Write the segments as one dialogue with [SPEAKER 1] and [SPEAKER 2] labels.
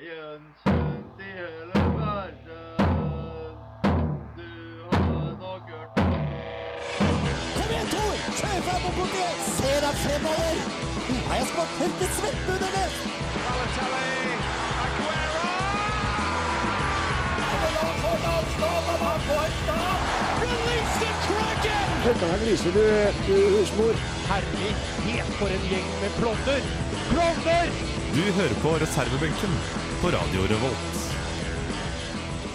[SPEAKER 1] Veden kjent i hele verden. Du har nok hørt om
[SPEAKER 2] Kom igjen, Tor! Kjør fram og bort igjen! Se deg fremover! Nå har jeg spart helt til svette under det!
[SPEAKER 3] Du hører på reservebenken på Radio Revolt.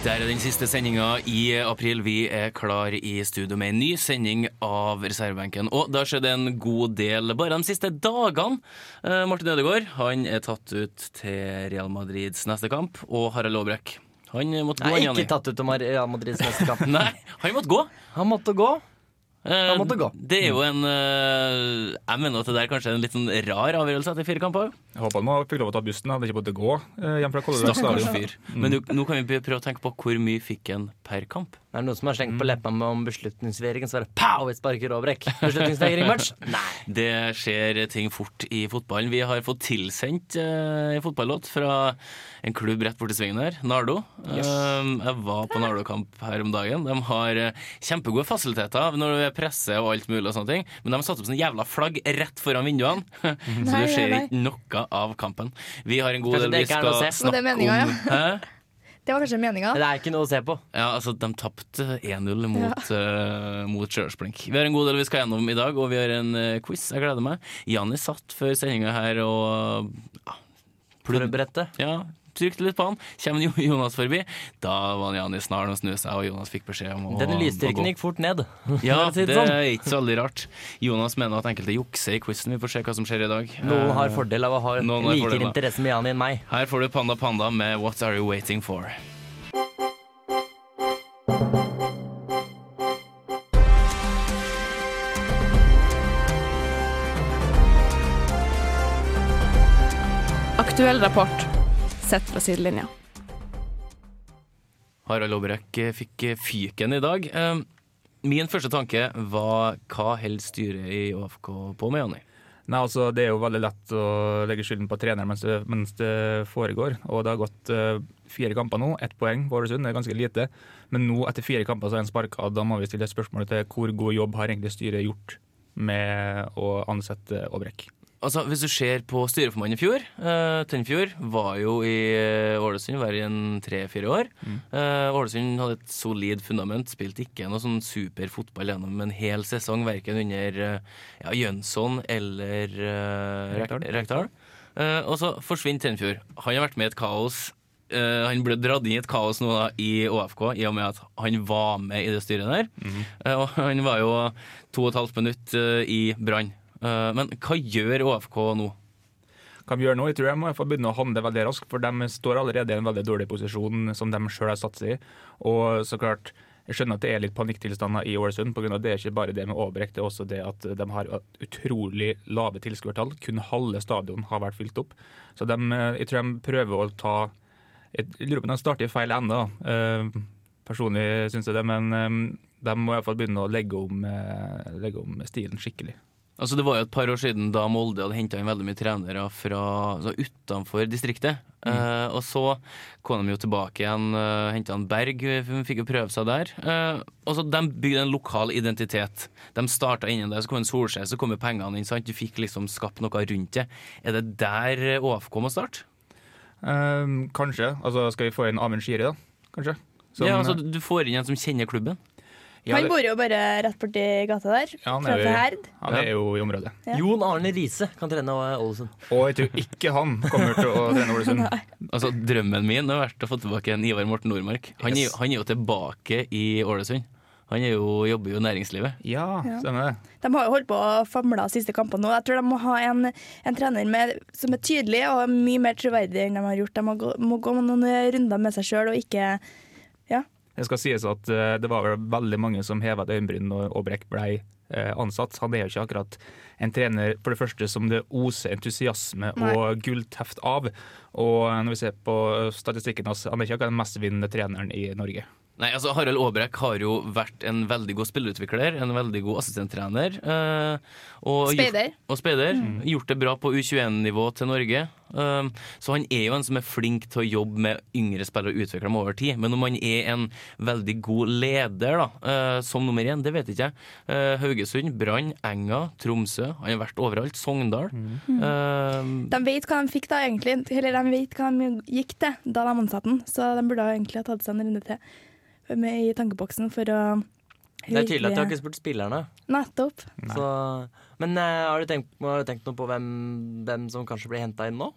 [SPEAKER 4] Der er den siste sendinga i april. Vi er klar i studio med en ny sending av Reservebenken. Og det har skjedd en god del bare de siste dagene. Eh, Martin Ødegaard han er tatt ut til Real Madrids neste kamp. Og Harald Aabrekk. Han måtte gå,
[SPEAKER 5] Nei,
[SPEAKER 4] han,
[SPEAKER 5] ikke
[SPEAKER 4] Janni.
[SPEAKER 5] tatt ut om Real Madrids neste kamp.
[SPEAKER 4] Nei, han måtte gå.
[SPEAKER 5] Han måtte gå.
[SPEAKER 4] Eh,
[SPEAKER 5] Han måtte gå.
[SPEAKER 4] Det er jo en eh, Jeg mener at det der kanskje er en litt sånn rar avgjørelse etter fire kamper.
[SPEAKER 6] Jeg håper han fikk lov å ta bussen, hadde ikke måttet gå eh, hjem fra Kolledag
[SPEAKER 4] Stakkars
[SPEAKER 6] stadion.
[SPEAKER 4] fyr. Men du, nå kan vi prøve å tenke på hvor mye fikk han per kamp.
[SPEAKER 5] Er det noen som har slengt på
[SPEAKER 4] Mm.
[SPEAKER 5] leppa med om beslutningsvegring, så er det pow! Vi sparker Aabrek. Beslutningsvegring-match. Nei.
[SPEAKER 4] Det skjer ting fort i fotballen. Vi har fått tilsendt eh, en fotballåt fra en klubb rett borti svingen her, Nardo. Um, jeg var på Nardo-kamp her om dagen. De har eh, kjempegode fasiliteter når det er presse og alt mulig, og sånne ting men de har satt opp sånne jævla flagg rett foran vinduene. Så
[SPEAKER 7] Nei,
[SPEAKER 4] du ser
[SPEAKER 7] nei, nei.
[SPEAKER 4] ikke noe av kampen. Vi har en god
[SPEAKER 5] Kanskje
[SPEAKER 4] del
[SPEAKER 5] det
[SPEAKER 4] vi
[SPEAKER 5] ikke er
[SPEAKER 4] skal
[SPEAKER 5] noe å se.
[SPEAKER 7] Men
[SPEAKER 4] snakke
[SPEAKER 7] det er meningen,
[SPEAKER 4] om. Hæ?
[SPEAKER 7] Det var kanskje meninga.
[SPEAKER 5] Det er ikke noe å se på.
[SPEAKER 4] Ja, altså De tapte 1-0 mot, ja. mot Stjørdals-Blink. Vi har en god del vi skal gjennom i dag, og vi har en eh, quiz. Jeg gleder meg. Janni satt før sendinga her og
[SPEAKER 5] Forberedte.
[SPEAKER 4] ja, trykte litt på han. Kommer Jo- Jonas forbi? Da var Janni snarere å snu seg, og Jonas fikk beskjed om å
[SPEAKER 5] Denne
[SPEAKER 4] å
[SPEAKER 5] lysstyrken
[SPEAKER 4] gå.
[SPEAKER 5] gikk fort ned.
[SPEAKER 4] Ja,
[SPEAKER 5] for å si
[SPEAKER 4] det
[SPEAKER 5] det sånn.
[SPEAKER 4] er ikke så veldig rart. Jonas mener at enkelte jukser i quizen. Vi får se hva som skjer i dag.
[SPEAKER 5] Noen
[SPEAKER 4] Eh,
[SPEAKER 5] har fordel av å ha
[SPEAKER 4] Noen har fordel,
[SPEAKER 5] likere
[SPEAKER 4] da.
[SPEAKER 5] interesse med Jani enn meg.
[SPEAKER 4] Her får du Panda Panda med What Are You Waiting For?
[SPEAKER 8] Aktuell rapport sett fra sidelinja.
[SPEAKER 4] Harald Aabrek eh, fikk eh, fyken i dag. Eh, Min første tanke var hva holder styret i ÅFK på med, Jonny?
[SPEAKER 6] Nei, altså, det er jo veldig lett å legge skylden på treneren mens det, mens det foregår. Og det har gått eh, fire kamper nå, ett poeng på Ålesund, det er ganske lite. Men nå, etter fire kamper, så er han sparka. Da må vi stille spørsmålet til hvor god jobb har egentlig styret gjort med å ansette Aabrek.
[SPEAKER 4] Altså, hvis du ser på styreformannen i fjor, eh, Tønnefjord var jo i eh, Ålesund var i en tre-fire år. Eh, Ålesund hadde et solid fundament, spilte ikke noe sånn super fotball gjennom en hel sesong, verken under eh, ja, Jønsson eller eh, Rek- Rekdal. Eh, og så forsvinner Tønnefjord. Han har vært med i et kaos. Eh, han ble dratt inn i et kaos nå da, i ÅFK, i og med at han var med i det styret der. Eh, og han var jo to og et halvt minutt eh, i Brann. Eh, men hva gjør ÅFK nå?
[SPEAKER 6] Hva de gjør nå, jeg tror jeg må få begynne å handle veldig raskt, for de står allerede i en veldig dårlig posisjon som de sjøl har satt seg i. Og så klart, jeg skjønner at det er litt panikktilstander i Ålesund, pga. det er ikke bare det med Aabrek, det er også det at de har utrolig lave tilskuertall. Kun halve stadion har vært fylt opp. Så de, eh, jeg tror de prøver å ta Jeg lurer på om de starter i feil ende, da. Eh, Personlig syns jeg det, men eh, de må iallfall begynne å legge om, eh, legge om stilen skikkelig.
[SPEAKER 4] Altså Det var jo et par år siden da Molde hadde henta inn veldig mye trenere fra altså, utenfor distriktet. Eh, og så kom de jo tilbake igjen, uh, henta han Berg, vi fikk jo prøve seg der. Eh, og så De bygde en lokal identitet. De starta innen der, så kom en Solskjær, så kom jo pengene inn. sant? Du fikk liksom skapt noe rundt det. Er det der ÅFK må starte?
[SPEAKER 6] Eh, Kanskje. Altså, skal vi få inn Amund Shiri, da? Kanskje? Som- eh,
[SPEAKER 4] ja, altså Du får inn en som kjenner klubben.
[SPEAKER 6] Ja,
[SPEAKER 7] Han
[SPEAKER 6] det-
[SPEAKER 7] bor jo bare rett borti gata der.
[SPEAKER 6] Ja, han er
[SPEAKER 7] Fra
[SPEAKER 6] jo-
[SPEAKER 7] til Herd.
[SPEAKER 6] Han er jo i området.
[SPEAKER 7] Ja.
[SPEAKER 5] Jon Arne Riise kan trene Ålesund.
[SPEAKER 6] Og jeg tror ikke han kommer til å trene Ålesund.
[SPEAKER 4] Altså Drømmen min har vært å få tilbake en Ivar Morten Nordmark. Han, er,
[SPEAKER 6] Yes.
[SPEAKER 4] jo- han er jo tilbake i Ålesund. Han er jo, jobber jo i næringslivet.
[SPEAKER 6] Ja,
[SPEAKER 7] Ja.
[SPEAKER 6] stemmer det.
[SPEAKER 7] De har jo holdt på å famle de siste kampene nå. Jeg tror de må ha en, en trener med, som er tydelig og mye mer troverdig enn de har gjort. De må gå, må gå noen runder med seg sjøl og ikke
[SPEAKER 6] Det skal sies at eh, det var vel veldig mange som heva et øyenbryn når Aabrek ble eh, ansatt. Han er jo ikke akkurat en trener for det første som det oser entusiasme
[SPEAKER 7] Nei.
[SPEAKER 6] og gullteft eh, altså, av. Og når vi ser på statistikken hans, han er ikke akkurat den mestvinnende treneren i Norge.
[SPEAKER 4] Nei, altså Harald Aabrekk har jo vært en veldig god spillerutvikler, en veldig god assistenttrener. eh, og
[SPEAKER 7] Speider.
[SPEAKER 4] Gjort, og speider. Gjort det bra på U21-nivå til Norge. Eh, så han er jo en som er flink til å jobbe med yngre spillere og utvikle dem over tid. Men om han er en veldig god leder da, eh, som nummer én, det vet ikke jeg. Eh, Haugesund, Brann, Enga, Tromsø. Han har vært overalt. Sogndal. Eh,
[SPEAKER 7] De vet hva de fikk Mm. da, egentlig. Eller de vet hva de gikk til da de ansatte den, så de burde ha egentlig ha tatt seg en runde til med i tankeboksen for å
[SPEAKER 5] Det er tydelig at de har ikke spurt spillerne.
[SPEAKER 7] Nettopp.
[SPEAKER 5] Så, men eh, har, du tenkt, har du tenkt noe på hvem, hvem som kanskje blir henta inn nå?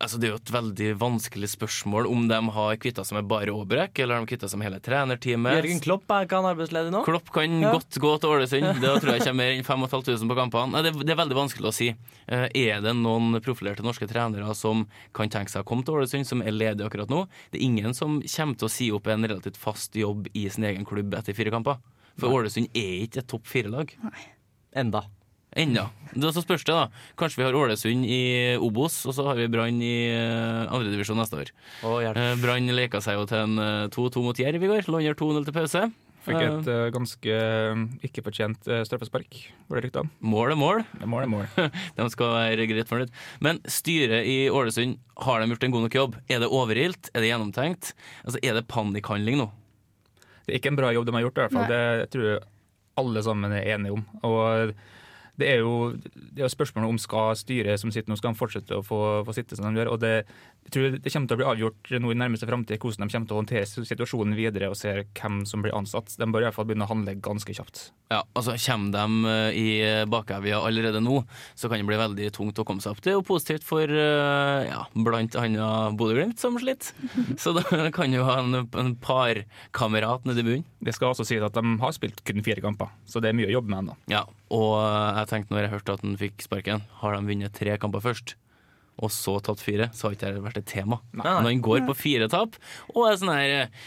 [SPEAKER 4] Altså, det er jo et veldig vanskelig spørsmål om de har kvitta seg med bare Aabrekk, eller har de kvitta seg med hele trenerteamet.
[SPEAKER 5] Jørgen Klopp er ikke han arbeidsledig nå?
[SPEAKER 4] Klopp kan
[SPEAKER 5] Ja.
[SPEAKER 4] godt gå til Ålesund. Det tror jeg kommer mer enn 5500 på kampene. Nei, det, det er veldig vanskelig å si. Eh, Er det noen profilerte norske trenere som kan tenke seg å komme til Ålesund, som er ledige akkurat nå? Det er ingen som kommer til å si opp en relativt fast jobb i sin egen klubb etter fire kamper. For Ålesund er ikke et topp fire-lag.
[SPEAKER 5] Enda.
[SPEAKER 4] Ennå. Det er så spørs det, da. Kanskje vi har Ålesund i Obos, og så har vi Brann i eh, andredivisjon neste år.
[SPEAKER 5] Å, hjelp.
[SPEAKER 4] Eh, Brann leka seg jo til en eh, 2-2 mot Jerv i går. Lå under 2-0 til pause.
[SPEAKER 6] Fikk et eh, ganske eh, ikke-fortjent eh, straffespark, var det ryktet om.
[SPEAKER 4] Mål er mål.
[SPEAKER 6] Det er Mål er mål.
[SPEAKER 4] De skal være greit fornøyd. Men styret i Ålesund, har de gjort en god nok jobb? Er det overilt? Er det gjennomtenkt? Altså, er det panikkhandling nå?
[SPEAKER 6] Det er ikke en bra jobb de har gjort, i hvert fall.
[SPEAKER 7] Nei.
[SPEAKER 6] Det tror jeg alle sammen er enige om. Og det er jo, det er jo spørsmålet om skal styret som sitter nå, skal de fortsette å få, få sitte som de gjør. Og det, jeg tror det kommer til å bli avgjort nå i nærmeste framtid hvordan de kommer til å håndtere situasjonen videre og se hvem som blir ansatt. De bør i hvert fall begynne å handle ganske kjapt.
[SPEAKER 4] Ja, altså Kommer de eh, i bakevja allerede nå, så kan det bli veldig tungt å komme seg opp. Det er jo positivt for eh, ja, bl.a. Bodø-Glimt, som sliter. Så da kan jo ha en, en parkamerat nede i bunnen.
[SPEAKER 6] Det skal også sies at de har spilt kun fire kamper, så det er mye å jobbe med ennå.
[SPEAKER 4] Ja, og eh, jeg tenkte når jeg hørte at han fikk sparken, har de vunnet tre kamper først? Og så tatt fire, så har ikke det vært et tema. Men han går på fire tap, og er sånn her eh,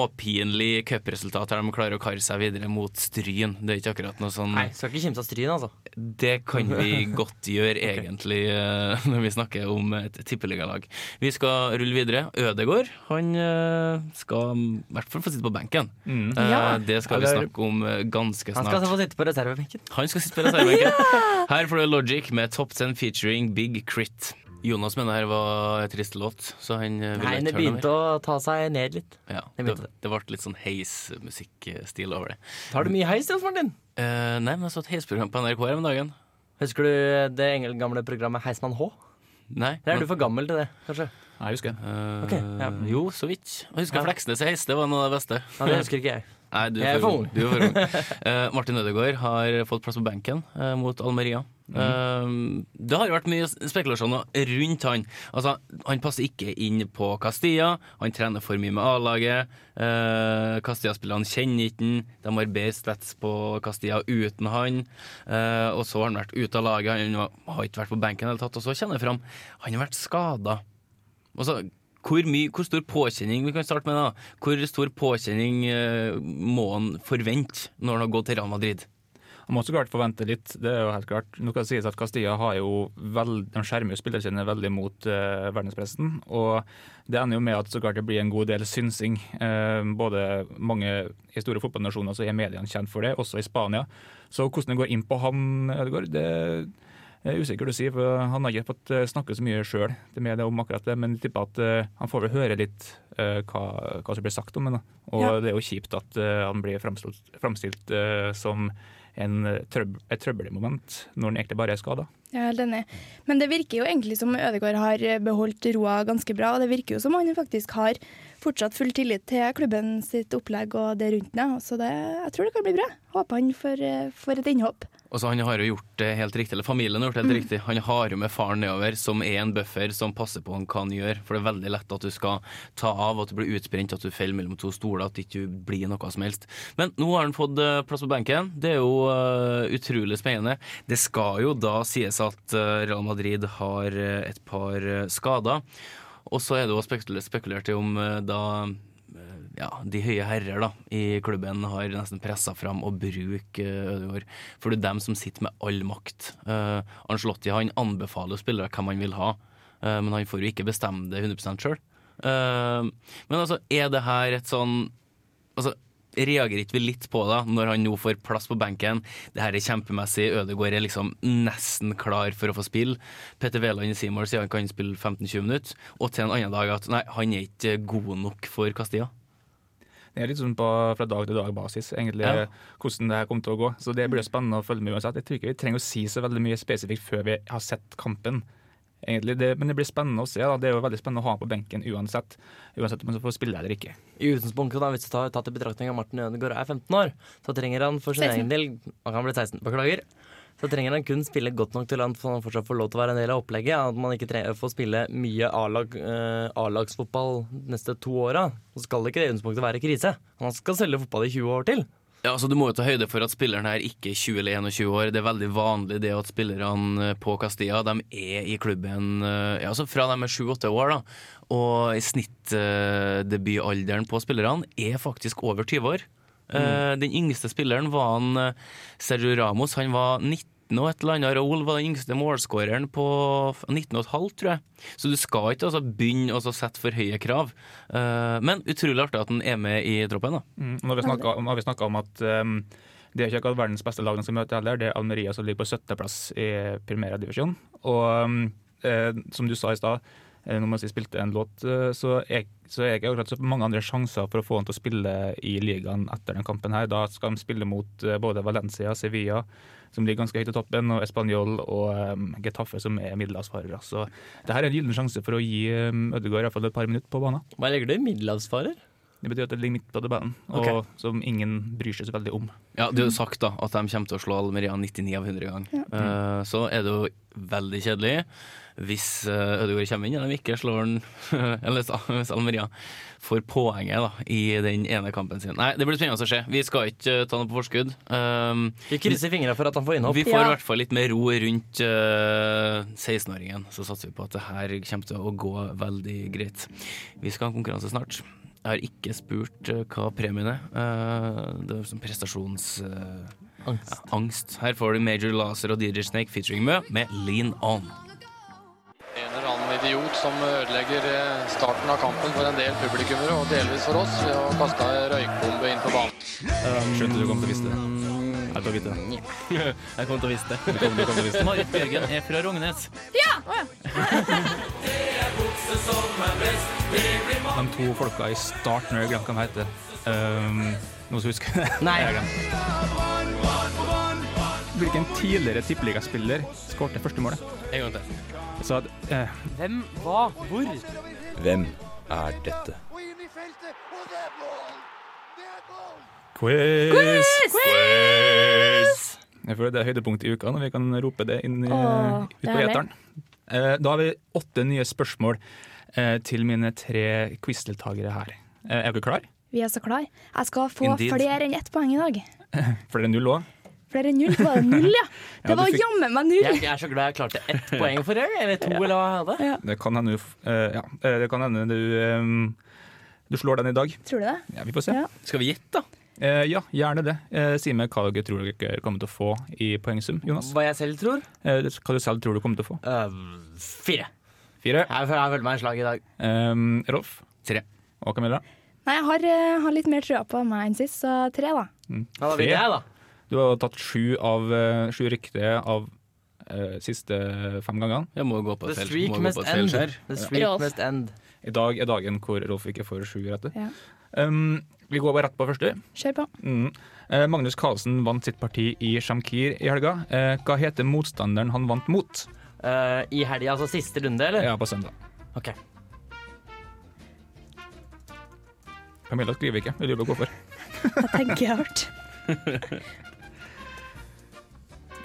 [SPEAKER 4] småpinlig cupresultat der de klarer å kare seg videre mot Stryn. Det er ikke akkurat noe sånn
[SPEAKER 5] Nei, skal ikke kimse av stryen, altså.
[SPEAKER 4] Det kan vi godt gjøre, egentlig, eh, når vi snakker om et tippeligalag. Vi skal rulle videre. Ødegård, han eh, skal i hvert fall få sitte på benken.
[SPEAKER 6] Mm.
[SPEAKER 4] Eh,
[SPEAKER 5] Ja.
[SPEAKER 4] Det skal vi
[SPEAKER 6] Eller-
[SPEAKER 4] snakke om eh, ganske snart.
[SPEAKER 5] Han skal altså få sitte på reservebenken.
[SPEAKER 4] Han skal sitte på reservebenken. Her får du Logic med Top 10 featuring Big Crit. Jonas mener her var et trist låt, så han eh, ville
[SPEAKER 5] Nei,
[SPEAKER 4] ikke høre
[SPEAKER 5] det
[SPEAKER 4] noe
[SPEAKER 5] begynte
[SPEAKER 4] mer.
[SPEAKER 5] å ta seg ned litt.
[SPEAKER 4] Ja, det,
[SPEAKER 5] det begynte det.
[SPEAKER 4] det ble litt sånn heismusikkstil over det.
[SPEAKER 5] Tar du mye heis, Jens Martin?
[SPEAKER 4] Eh, nei, men jeg så et heisprogram på NRK her om dagen.
[SPEAKER 5] Husker du det engel- gamle programmet Heismann H?
[SPEAKER 4] Nei,
[SPEAKER 5] Eller
[SPEAKER 4] men-
[SPEAKER 5] er du for gammel til det, kanskje?
[SPEAKER 6] Nei, jeg husker.
[SPEAKER 4] Eh,
[SPEAKER 5] Ok, ja.
[SPEAKER 4] Jo, så vidt. Jeg husker
[SPEAKER 5] Ja.
[SPEAKER 4] Fleksnes i heis, det var noe av det beste.
[SPEAKER 5] Nei, det husker ikke jeg.
[SPEAKER 4] Nei, du
[SPEAKER 5] Jeg er
[SPEAKER 4] er
[SPEAKER 5] for
[SPEAKER 4] for ung.
[SPEAKER 5] ung.
[SPEAKER 4] Du er for ung. Eh, Martin Ødegaard har fått plass på benken eh, mot Almeria.
[SPEAKER 5] Mhm.
[SPEAKER 4] Eh, det har jo vært mye spekulasjoner rundt han. Altså, Han passer ikke inn på Castilla. Han trener for mye med A-laget. Eh, Castilla-spillerne kjenner ikke han. De har bedre stats på Castilla uten han. Eh, og så har han vært ute av laget. Han har ikke vært på benken i det hele tatt. Og så kjenner jeg fram. Han har vært skada. Altså, hvor, mye, hvor stor påkjenning vi kan starte med da, hvor stor påkjenning eh, må han forvente når han har gått til Real Madrid?
[SPEAKER 6] Man må også klart forvente litt. det er jo helt klart. Nå kan det sies at Castilla har jo vel, de skjermer jo spillerne sine veldig mot eh, verdenspressen. Og det ender jo med at så klart det blir en god del synsing. Eh, både mange i store fotballnasjoner så er mediene kjent for det, også i Spania. Så hvordan det går inn på han, Ødegaard, det er usikkert å si. for Han har ikke fått eh, snakke så mye sjøl til media om akkurat det, men jeg tipper at eh, han får vel høre litt eh, hva, hva som blir sagt om ham. Og
[SPEAKER 7] Ja.
[SPEAKER 6] det er jo kjipt at eh, han blir framstilt, framstilt eh, som en eh, trøb et trøbbelmoment når den egentlig bare er skada.
[SPEAKER 7] Jeg er helt enig. Men det virker jo egentlig som Ødegaard har eh, beholdt roa ganske bra. Og det virker jo som han faktisk har fortsatt full tillit til klubben sitt opplegg og det rundt den. ja. Så det, jeg tror det kan bli bra. Håper han får, eh, får et innhopp.
[SPEAKER 4] Altså, han har jo gjort det helt riktig, eller familien har gjort det helt riktig. Han har jo med faren nedover, som er en buffer som passer på han hva han gjør. For det er veldig lett at du skal ta av, at du blir utbrent, at du faller mellom to stoler, at du ikke blir noe som helst. Men nå har han fått eh, plass på benken. Det er jo eh, utrolig spennende. Det skal jo da sies at eh, Real Madrid har eh, et par eh, skader. Og så er det jo spekul- spekulert i om eh, da eh, ja, de høye herrer da, i klubben har nesten pressa fram å bruke eh, Ødegaard. For det er dem som sitter med all makt. Eh, Ancelotti han anbefaler jo spillere hvem han vil ha, eh, men han får Eh, jo ikke bestemme det 100 sjøl. men altså, er det her et sånn altså, Reagerer ikke vi litt på det når han nå får plass på benken? Det her er kjempemessig. Ødegaard er liksom nesten klar for å få spille. Petter Wæland i Seymour sier han kan spille 15-20 minutter. Og til en annen dag at nei, han er ikke god nok for Castilla.
[SPEAKER 6] Det er litt sånn på, fra dag til dag-basis, egentlig,
[SPEAKER 4] Ja.
[SPEAKER 6] hvordan det her kommer til å gå. Så det blir spennende å følge med uansett. Jeg tror ikke vi trenger å si så veldig mye spesifikt før vi har sett kampen. Egentlig, det, men det blir spennende å se. Da. Det er jo veldig spennende å ha han på benken uansett. Uansett om han får spille eller ikke.
[SPEAKER 5] I utgangspunktet, da, hvis du tar tatt i betraktning at Martin Ødegaard er 15 år, så trenger han for sin
[SPEAKER 7] 16.
[SPEAKER 5] egen del Han kan bli 16, beklager. Så trenger han kun spille godt nok til at han fortsatt får lov til å være en del av opplegget. At man ikke trenger, får spille mye A-lag, eh, A-lagsfotball de neste to åra. Så skal det ikke i utgangspunktet være krise. Han skal selge fotball i 20 år til.
[SPEAKER 4] Ja, altså Du må jo ta høyde for at spilleren her ikke er 20 eller 21 år. Det er veldig vanlig det at spillerne på Castilla de er i klubben eh, ja, altså fra de er 7-8 år. da. Og i snittdebutalderen på spillerne er faktisk over 20 år. Eh, Den yngste spilleren var han eh, Sergio Ramos. Han var 19 og et eller annet. Raúl var den yngste målskåreren på f- 19 og et halvt, tror jeg. Så du skal ikke altså, begynne å så sette for høye krav. Eh, Men utrolig artig at han er med i troppen. da.
[SPEAKER 6] Mm. Nå har vi snakket om- har vi snakka om at um, det er ikke akkurat verdens beste lag de skal møte heller. Det er Almeria som ligger på 17.-plass i primærdivisjon. Og um, eh, som du sa i stad, eh, når man sier spilte en låt, eh, så er, så er ikke akkurat så mange andre sjanser for å få han til å spille i ligaen etter den kampen her. Da skal de spille mot eh, både Valencia, Sevilla, som ligger ganske høyt i toppen, og Español og um, Getafe, som er middelhavsfarere. Så det her er en gyllen sjanse for å gi um, Ødegaard i hvert fall et par minutter på banen.
[SPEAKER 5] Hva legger du i middelhavsfarer?
[SPEAKER 6] Det betyr at det ligger midt på tabellen, og
[SPEAKER 5] Ok.
[SPEAKER 6] som ingen bryr seg så veldig om.
[SPEAKER 4] Ja, Du har jo sagt da at de kommer til å slå Almeria 99 av 100 ganger. Eh, så er det jo veldig kjedelig hvis eh, Ødegaard kommer inn og de ikke slår den, eller hvis Almeria får poenget da, i den ene kampen sin. Nei, det blir spennende å se. Vi skal ikke eh, ta noe på forskudd. Um,
[SPEAKER 5] Vi krysser fingra for at han får innhopp.
[SPEAKER 4] vi får i
[SPEAKER 7] Ja.
[SPEAKER 4] hvert fall litt mer ro rundt eh, 16-åringen. Så satser vi på at det her kommer til å gå veldig greit. Vi skal ha en konkurranse snart. Jeg har ikke spurt eh, hva premien er. Eh, det er sånn prestasjons... eh, ja, angst. Her får du Major Lazer og DJ Snake featuring Mø med Lean On.
[SPEAKER 9] En eller annen idiot som ødelegger eh, starten av kampen for en del publikummere, og delvis for oss, ved å kaste ei røykbombe inn på banen.
[SPEAKER 6] Skjønte du kom til å vise det. Jeg tar vite det.
[SPEAKER 4] Jeg kommer til å vise det.
[SPEAKER 6] Du kom, du kom til å vise det.
[SPEAKER 4] Marit Bjørgen er fra Rognes.
[SPEAKER 6] De to folka i starten, jeg glemte hva de heter. Um, noen som husker det?
[SPEAKER 5] Nei.
[SPEAKER 6] Jeg har glemt. Hvilken tidligere tippeligaspiller skåret første målet?
[SPEAKER 4] En gang til.
[SPEAKER 6] Så at eh,
[SPEAKER 5] Hvem, hva, hvor?
[SPEAKER 10] Hvem er dette?
[SPEAKER 3] Quiz! Quiz!
[SPEAKER 6] Jeg føler det er høydepunktet i uka når vi kan rope det inn i,
[SPEAKER 7] Åh,
[SPEAKER 6] ut
[SPEAKER 7] det
[SPEAKER 6] på
[SPEAKER 7] er det.
[SPEAKER 6] eteren. Eh, Da har vi åtte nye spørsmål eh, til mine tre quizdeltakere her. Eh, Er dere klar?
[SPEAKER 7] Vi er så klar. Jeg skal få
[SPEAKER 4] Indeed.
[SPEAKER 7] flere enn ett poeng i dag.
[SPEAKER 6] For det er null òg.
[SPEAKER 7] Flere enn null? Var det null, ja?
[SPEAKER 6] Ja,
[SPEAKER 7] Det
[SPEAKER 6] du
[SPEAKER 7] var
[SPEAKER 6] fikk-
[SPEAKER 7] jammen meg null!
[SPEAKER 5] Jeg, jeg er så glad jeg klarte ett poeng for deg, eller to, eller hva jeg hadde.
[SPEAKER 6] Det kan hende, du f- eh, ja, eh, det kan hende du, eh, du slår den i dag.
[SPEAKER 7] Tror du det?
[SPEAKER 6] Ja, vi får se.
[SPEAKER 7] Ja.
[SPEAKER 4] Skal vi gjette, da?
[SPEAKER 6] Eh, ja, gjerne det. Eh, si meg hva dere tror dere kommer til å få i poengsum, Jonas.
[SPEAKER 5] Hva jeg selv tror?
[SPEAKER 6] Eh, hva du selv tror du kommer til å få.
[SPEAKER 4] Eh,
[SPEAKER 5] Øh, fire.
[SPEAKER 6] Fire.
[SPEAKER 5] Jeg føler jeg følte meg en slag i dag.
[SPEAKER 6] Um, Rolf
[SPEAKER 4] Tre.
[SPEAKER 6] og Camilla.
[SPEAKER 7] Nei, jeg har, eh, har litt mer trua på meg enn sist, så tre, da.
[SPEAKER 6] Mm.
[SPEAKER 5] Ja, da vinner jeg, da.
[SPEAKER 6] Du har tatt sju av eh, sju riktige av eh, siste fem gangene.
[SPEAKER 4] Jeg må gå på
[SPEAKER 5] The
[SPEAKER 4] et feil-
[SPEAKER 5] streak
[SPEAKER 4] må gå
[SPEAKER 5] must
[SPEAKER 4] på et
[SPEAKER 5] end.
[SPEAKER 4] feilskjær.
[SPEAKER 5] The streak
[SPEAKER 7] Rolf.
[SPEAKER 5] must end.
[SPEAKER 6] I dag er dagen hvor Rolf ikke får sju rette.
[SPEAKER 7] Ja.
[SPEAKER 6] Um, vi går bare rett på første.
[SPEAKER 7] Kjør på.
[SPEAKER 6] Mm. Eh, Magnus Carlsen vant sitt parti i Shamkir i helga. Eh, hva heter motstanderen han vant mot?
[SPEAKER 5] Eh, I helga, altså siste runde, eller?
[SPEAKER 6] Ja, på søndag.
[SPEAKER 5] Ok.
[SPEAKER 6] Camilla skriver ikke. Jeg lurer på hvorfor.
[SPEAKER 7] Jeg tenker hardt.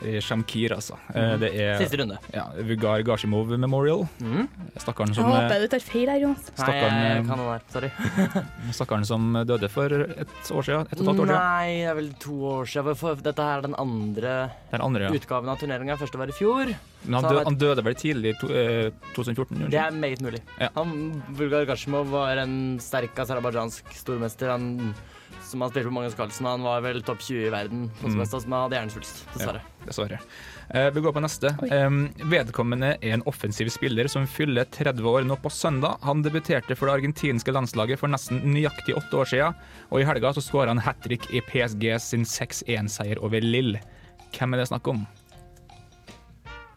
[SPEAKER 6] Eh, Shamkir, altså. Eh, det er
[SPEAKER 5] Siste runde.
[SPEAKER 6] ja, Vugar Gashimov Memorial.
[SPEAKER 5] Mm.
[SPEAKER 6] Stakkaren
[SPEAKER 7] Jeg
[SPEAKER 6] som, eh,
[SPEAKER 7] håper du tar feil her, Jonas.
[SPEAKER 5] Nei, jeg
[SPEAKER 6] Stakkaren, eh,
[SPEAKER 5] kan den der. Sorry.
[SPEAKER 6] stakkaren som døde for et år siden. Et og et halvt år siden.
[SPEAKER 5] Nei, det er vel to år siden. For dette her er den andre
[SPEAKER 6] Den andre, ja.
[SPEAKER 5] utgaven av turneringa. Første var i fjor.
[SPEAKER 6] Men han,
[SPEAKER 5] Så han
[SPEAKER 6] døde,
[SPEAKER 5] vet-
[SPEAKER 6] han døde vel tidlig i to, eh, 2014?
[SPEAKER 5] Det
[SPEAKER 6] Unnskyld.
[SPEAKER 5] er meget mulig.
[SPEAKER 6] Ja.
[SPEAKER 5] Han, Bulgar Gashimov var en sterk aserbajdsjansk stormester han, som han spilte på Magnus Carlsen. Han var vel topp 20 i verden, sånn som
[SPEAKER 6] Mm.
[SPEAKER 5] jeg sa, men han hadde hjernesvulst, dessverre.
[SPEAKER 6] Dessverre. Eh, vi går på neste.
[SPEAKER 7] Oi.
[SPEAKER 6] Em, vedkommende er en offensiv spiller som fyller 30 år nå på søndag. Han debuterte for det argentinske landslaget for nesten nøyaktig åtte år siden, og i helga så skåra han hat trick i PSG sin 6-1-seier over Lille. Hvem er det snakk om?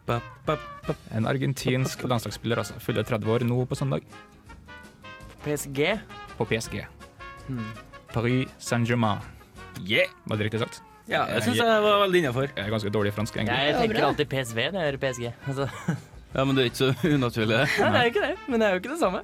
[SPEAKER 4] Ba, ba, ba.
[SPEAKER 6] En argentinsk landslagsspiller altså. fyller 30 år nå på søndag,
[SPEAKER 5] PSG
[SPEAKER 6] på PSG.
[SPEAKER 5] Hmm.
[SPEAKER 6] Paris Saint-Germain. Yeah! Var det riktig sagt?
[SPEAKER 4] Ja, det syns jeg var veldig innafor.
[SPEAKER 6] Jeg er ganske dårlig i fransk, egentlig.
[SPEAKER 5] Jeg
[SPEAKER 7] var
[SPEAKER 5] tenker
[SPEAKER 7] bra.
[SPEAKER 5] alltid PSV når jeg hører PSG. Altså,
[SPEAKER 4] Ja, men det er ikke så unaturlig. det.
[SPEAKER 5] nei, det er jo ikke det, men det er jo ikke det samme.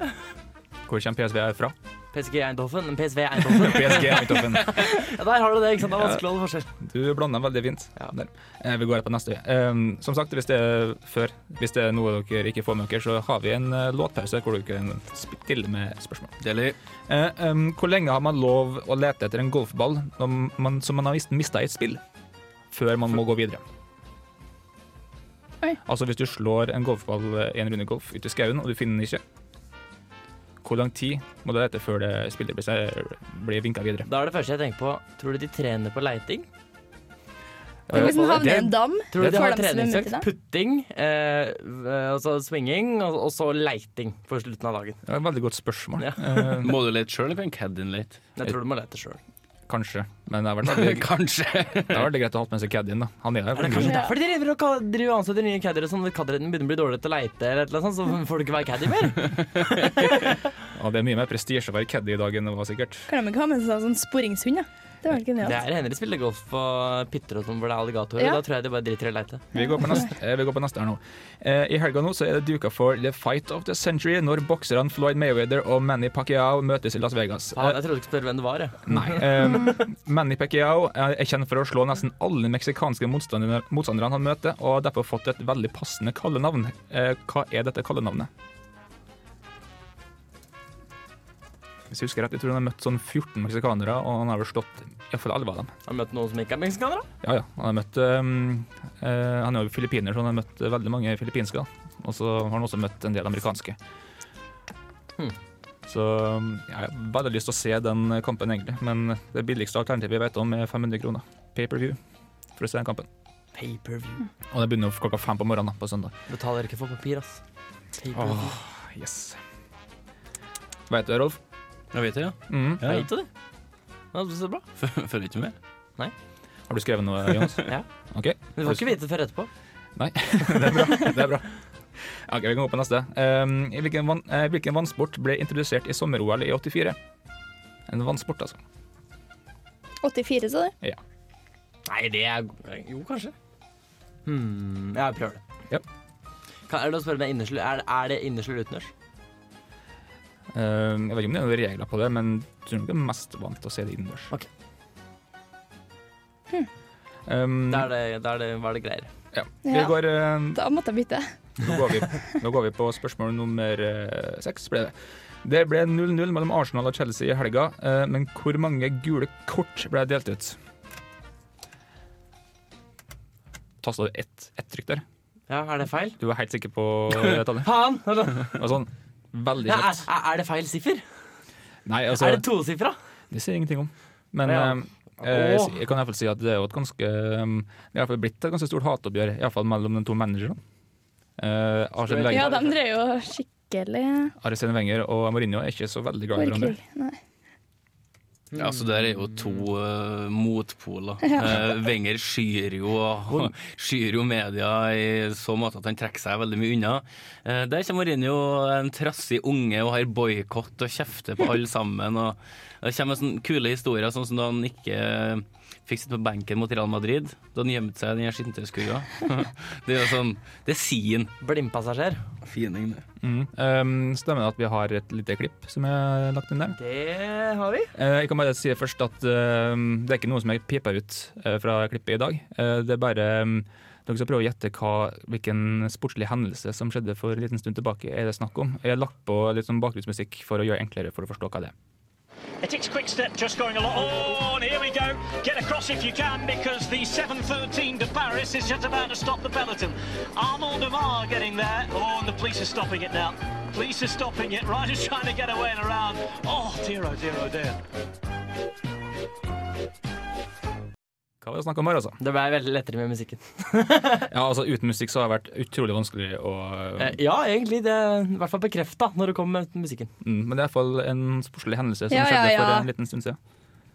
[SPEAKER 6] Hvor kommer PSV fra?
[SPEAKER 5] PSG er Eindhoven, men PSV er Eindhoven.
[SPEAKER 6] PSG er Eindhoven.
[SPEAKER 5] Ja, der har du det, ikke sant? Det er vanskelig å holde forskjell.
[SPEAKER 6] Du blander veldig fint.
[SPEAKER 5] Ja.
[SPEAKER 6] Der. Eh, Vi går på neste. Ehm, som sagt, hvis det er før, hvis det er noe dere ikke får med dere, så har vi en eh, låtpause hvor dere stiller med spørsmål.
[SPEAKER 4] Deilig.
[SPEAKER 6] Eh, ehm, hvor lenge har man lov å lete etter en golfball når man, som man har mista i et spill, før man må gå videre?
[SPEAKER 7] Oi.
[SPEAKER 6] Altså hvis du slår en golfball eh, i en runde golf ute i skauen, og du finner den ikke, hvor lang tid må du lete før det spillet blir, se- blir vinka videre?
[SPEAKER 5] Da er det første jeg tenker på, tror du de trener på leiting?
[SPEAKER 7] Men hvis den
[SPEAKER 6] det-
[SPEAKER 7] havner i en dam,
[SPEAKER 5] Tror du de har
[SPEAKER 7] Får de svømme til
[SPEAKER 5] treningsøkt?
[SPEAKER 7] liksom det?
[SPEAKER 5] Putting, eh, eh, og så swinging, og, og så leiting på slutten av dagen.
[SPEAKER 6] Det er et veldig godt spørsmål.
[SPEAKER 5] Ja.
[SPEAKER 6] Eh,
[SPEAKER 4] Må du lete sjøl, eller kan Caddien lete?
[SPEAKER 5] Jeg tror du må lete sjøl.
[SPEAKER 6] kanskje, men det har vært veldig
[SPEAKER 4] Kanskje.
[SPEAKER 6] Det hadde vært greit å ha med seg caddien, da. Han er
[SPEAKER 5] Er det
[SPEAKER 6] her.
[SPEAKER 5] kanskje
[SPEAKER 7] Ja.
[SPEAKER 5] derfor de driver og ka- driver og ansetter nye caddyer? Sånn at caddien begynner å bli dårligere til å leite, eller et eller annet sånt, så får du ikke være caddy mer?
[SPEAKER 6] Og det er mye mer prestisje å være caddy i dag enn det var sikkert.
[SPEAKER 7] kan de ikke ha med seg sånn sporingshund, da? Det var
[SPEAKER 5] Det
[SPEAKER 7] genialt.
[SPEAKER 5] er hender de spiller golf på pytter og sånn hvor det er alligatorer.
[SPEAKER 7] Ja.
[SPEAKER 5] Da tror jeg de bare driter i å leite.
[SPEAKER 6] Vi går på neste, eh, vi går på neste her nå. Eh, I helga nå så er det duka for The Fight of the Century når bokserne Floyd Mayweather og Manny Pacquiao møtes i Las Vegas.
[SPEAKER 5] Faen,
[SPEAKER 6] Eh,
[SPEAKER 5] jeg trodde du skulle spørre hvem det var, jeg.
[SPEAKER 6] Nei. Eh, Manny Pacquiao er er kjent eh, for å slå nesten alle meksikanske motstanderne motstanderne han møter, og har derfor fått et veldig passende kallenavn. Eh, Hva er dette kallenavnet? Hvis jeg husker rett, jeg tror han har møtt sånn 14 meksikanere, og han har vel slått iallfall 11 av dem.
[SPEAKER 5] Har du møtt noen som ikke er meksikanere?
[SPEAKER 6] Ja, ja. Han har møtt ehm, eh, Han er jo filippiner, så han har møtt veldig mange filippinske. da. Og så har han også møtt en del amerikanske.
[SPEAKER 5] Hmm.
[SPEAKER 6] Så um, jeg har veldig lyst til å se den kampen, egentlig. Men det billigste alternativet jeg vet om, er 500 kroner. Pay-per-view for å se den kampen.
[SPEAKER 5] Paperview.
[SPEAKER 6] Og det begynner klokka fem på morgenen da, på søndag.
[SPEAKER 5] Betaler ikke for papir, ass. Paperview.
[SPEAKER 6] yes. Veit du det, Rolf?
[SPEAKER 4] Jeg vet det, ja.
[SPEAKER 6] Mhm.
[SPEAKER 5] Jeg
[SPEAKER 4] ja.
[SPEAKER 5] vet det. Ja, det er bra.
[SPEAKER 4] Følger ikke med.
[SPEAKER 6] Har du skrevet noe, Jonas?
[SPEAKER 5] Ja.
[SPEAKER 6] Ok.
[SPEAKER 5] Men Du får ikke vite det før etterpå.
[SPEAKER 6] Det er bra. Ok, Vi kan gå på neste. Um, hvilken, vann, eh, hvilken vannsport ble introdusert i sommer-OL i 84? En vannsport, altså.
[SPEAKER 7] 84, sa du?
[SPEAKER 5] Nei, det er Jo, kanskje. Hmm, jeg prøver det.
[SPEAKER 6] Ja.
[SPEAKER 5] Kan, er det å spørre om det er innersl- er, er det innersl eller utendørs?
[SPEAKER 6] Um, jeg vet ikke om det er noen regler på det, men jeg tror nok jeg er mest vant til å se det innendørs.
[SPEAKER 5] Ok.
[SPEAKER 6] Um,
[SPEAKER 5] Da er Hm. det, da er det, hva er det greier?
[SPEAKER 6] ja. Vi
[SPEAKER 7] Ja.
[SPEAKER 6] går, um,
[SPEAKER 7] Da måtte jeg bytte.
[SPEAKER 6] nå, går vi, nå går vi på spørsmål nummer eh, seks. ble det. Det ble 0-0 mellom Arsenal og Chelsea i helga, eh, men hvor mange gule kort ble delt ut? Tasta du ett ett trykk der?
[SPEAKER 5] Ja, er det feil?
[SPEAKER 6] Du var helt sikker på det tallet?
[SPEAKER 5] Faen!
[SPEAKER 6] Det var sånn veldig
[SPEAKER 5] Ja, er,
[SPEAKER 6] kjapt.
[SPEAKER 5] er- er det feil siffer?
[SPEAKER 6] Nei, altså,
[SPEAKER 5] Er det tosifra?
[SPEAKER 6] det sier jeg ingenting om. Men
[SPEAKER 5] Ja.
[SPEAKER 6] eh, eh, jeg, si- jeg kan iallfall si at det er jo et ganske um, Det er i hvert fall blitt et ganske stort hatoppgjør, iallfall mellom de to managerne. Eh, Arsene,
[SPEAKER 7] Ja,
[SPEAKER 6] Wenger,
[SPEAKER 7] de drev jo skikkelig
[SPEAKER 6] Arsene Wenger og Mourinho er ikke så veldig glad i hverandre.
[SPEAKER 7] orkrig. Nei.
[SPEAKER 4] Ja, altså Der er jo to eh, motpoler. Eh, Wenger skyr jo, skyr jo media i så måte at han trekker seg veldig mye unna. Eh, der kommer Mourinho, en trassig unge, og har boikott og kjefter på alle sammen. Og det kommer sånne kule historier, sånn som da han ikke eh, fikk sitte på benken mot Real Madrid. Da han gjemte seg i den her skinntøyskurva. det er jo sånn Det er sin
[SPEAKER 5] Blindpassasjer.
[SPEAKER 4] fining, det.
[SPEAKER 6] Mm. Eh, stemmer det at vi har et lite klipp som er lagt inn der?
[SPEAKER 5] Det har vi.
[SPEAKER 6] Eh, Jeg kan bare si først at eh, det er ikke noe som jeg piper ut eh, fra klippet i dag. Eh, Det er bare eh, dere skal prøve å gjette hva, hvilken sportslig hendelse som skjedde for en liten stund tilbake, er det snakk om. Jeg har lagt på litt sånn bakgrunnsmusikk for å gjøre det enklere for å forstå hva det er.
[SPEAKER 11] It is quick step just going along. Oh, and here we go. Get across if you can because the 7.13 to Paris is just about to stop the peloton. Arnold Amar getting there. Oh, and the police are stopping it now. Police are stopping it. Riders trying to get away and around. Oh, dear, oh, dear, oh, dear.
[SPEAKER 6] Hva var det snakk om her, altså?
[SPEAKER 5] Det ble veldig lettere med musikken.
[SPEAKER 6] Ja, altså Uten musikk så har det vært utrolig vanskelig å
[SPEAKER 5] Eh, ja, egentlig. Det er i hvert fall bekrefta når det kommer med musikken.
[SPEAKER 6] mm, Men det er iallfall en sportslig hendelse som
[SPEAKER 7] Ja, ja,
[SPEAKER 6] skjedde for
[SPEAKER 7] ja.
[SPEAKER 6] en liten stund siden.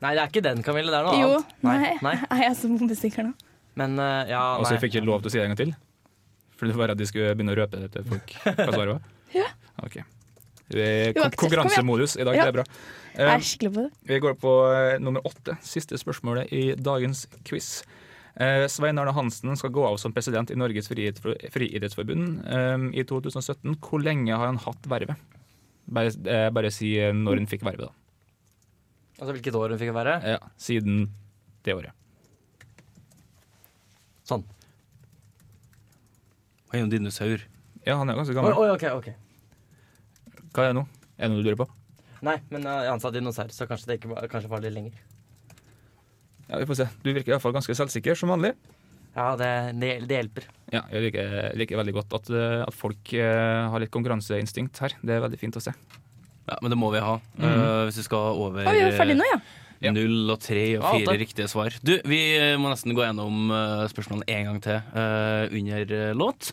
[SPEAKER 5] Nei, det er ikke den, Camille. Det er noe
[SPEAKER 7] Jo,
[SPEAKER 5] annet.
[SPEAKER 7] nei.
[SPEAKER 5] Ah, nei.
[SPEAKER 7] Jeg er som bombesikker nå.
[SPEAKER 5] Men eh, ja,
[SPEAKER 6] Og så
[SPEAKER 5] nei.
[SPEAKER 6] Altså, fikk jeg ikke lov til å si det en gang til. Fordi det var redd de skulle begynne å røpe det til folk. Hva svaret var?
[SPEAKER 7] Ja.
[SPEAKER 6] Ok. Vi er i
[SPEAKER 7] Uaktuelt,
[SPEAKER 6] kon-
[SPEAKER 7] kom igjen.
[SPEAKER 6] konkurransemodus i dag,
[SPEAKER 7] Ja.
[SPEAKER 6] det er bra.
[SPEAKER 7] Jeg
[SPEAKER 6] Eh,
[SPEAKER 7] er skikkelig på det.
[SPEAKER 6] vi går på eh, nummer åtte, siste spørsmålet i dagens quiz. Eh, Svein Arne Hansen skal gå av som president i Norges friidrettsfor- friidrettsforbund eh, i 2017. Hvor lenge har han hatt vervet? Bare, eh, bare si eh, når han fikk vervet, da.
[SPEAKER 5] Altså hvilket år hun fikk være?
[SPEAKER 6] Ja, siden det året.
[SPEAKER 5] Sånn.
[SPEAKER 4] Han er jo en dinosaur.
[SPEAKER 6] Ja, han er jo ganske
[SPEAKER 5] Oi,
[SPEAKER 6] gammel.
[SPEAKER 5] oi, ok, ok.
[SPEAKER 6] Hva er det nå? Er det noe du lurer på?
[SPEAKER 5] Nei, men eh, jeg er ansatt dinosaur, så kanskje det ikke var, kanskje var litt lenger.
[SPEAKER 6] Ja, Vi får se. Du virker iallfall ganske selvsikker, som vanlig.
[SPEAKER 5] Ja, det, det, det hjelper.
[SPEAKER 6] Ja, jeg liker, liker veldig godt at, eh, at folk eh, har litt konkurranseinstinkt her. Det er veldig fint å se.
[SPEAKER 4] Ja, men det må vi ha eh, hvis vi skal over
[SPEAKER 7] Å, vi er ferdig nå, ja.
[SPEAKER 6] Ja.
[SPEAKER 4] Null og tre og
[SPEAKER 5] Ja,
[SPEAKER 4] fire
[SPEAKER 5] åtte.
[SPEAKER 4] riktige svar. Du, vi eh, må nesten gå gjennom eh, spørsmålene en gang til eh, under eh, låt.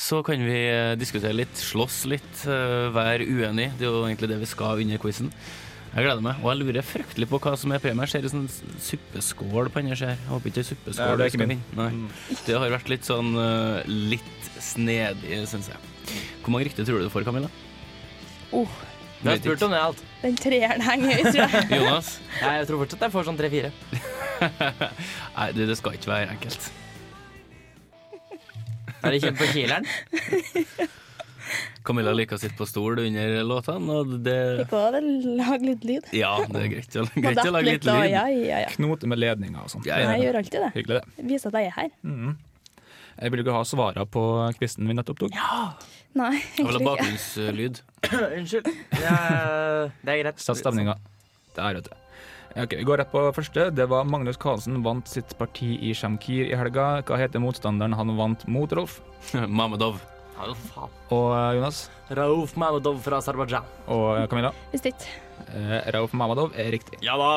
[SPEAKER 4] Så kan vi eh, diskutere litt, slåss litt, eh, være uenig. Det er jo egentlig det vi skal under quizen. Jeg gleder meg, og jeg lurer fryktelig på hva som er premien. Jeg Ser en sånn suppeskål på andre skjer. Jeg håper ikke det er suppeskål.
[SPEAKER 6] Nei, det er ikke
[SPEAKER 4] vi skal vinne. Nei. Det har vært litt sånn eh, litt snedig, syns jeg. Hvor mange riktige tror du du får, Camilla?
[SPEAKER 7] Oh,
[SPEAKER 5] Du har spurt om det alt.
[SPEAKER 7] den treeren henger høyt, tror jeg.
[SPEAKER 4] Jonas?
[SPEAKER 5] Nei, Jeg tror fortsatt jeg får sånn tre-fire.
[SPEAKER 4] Nei, du, det skal ikke være enkelt.
[SPEAKER 5] Er det kjent på kileren?
[SPEAKER 4] Camilla liker å sitte på stol under låtene, og det
[SPEAKER 7] Ikke å lage litt lyd.
[SPEAKER 4] Ja, det er greit, å-
[SPEAKER 7] Og
[SPEAKER 4] greit å
[SPEAKER 7] datt
[SPEAKER 4] lage litt
[SPEAKER 7] da.
[SPEAKER 4] lyd.
[SPEAKER 7] Ja, ja, ja.
[SPEAKER 6] Knote med ledninger og sånt.
[SPEAKER 4] Ja,
[SPEAKER 7] Nei,
[SPEAKER 4] ja.
[SPEAKER 7] Jeg gjør alltid det.
[SPEAKER 6] Hyggelig, det.
[SPEAKER 7] Vise at jeg er her.
[SPEAKER 6] Mhm. Jeg vil ikke ha svarene på quizen vi nettopp tok.
[SPEAKER 7] Nei,
[SPEAKER 4] Jeg vil ha
[SPEAKER 7] egentlig ikke.
[SPEAKER 4] bakgrunnslyd.
[SPEAKER 5] Unnskyld. Det er, det er greit.
[SPEAKER 6] Satt stemninga. Der, vet du. Ok, Vi går rett på første. Det var Magnus Carlsen vant sitt parti i Shamkir i helga. Hva heter motstanderen han vant mot, Rolf?
[SPEAKER 4] Mamedov.
[SPEAKER 5] Ja, jo faen.
[SPEAKER 6] Og eh, Jonas?
[SPEAKER 5] Rauf Mamedov fra Aserbajdsjan.
[SPEAKER 6] Og eh, Camilla?
[SPEAKER 7] Visst ikke.
[SPEAKER 6] Eh, Rauf Mamadov er riktig.
[SPEAKER 5] Ja da!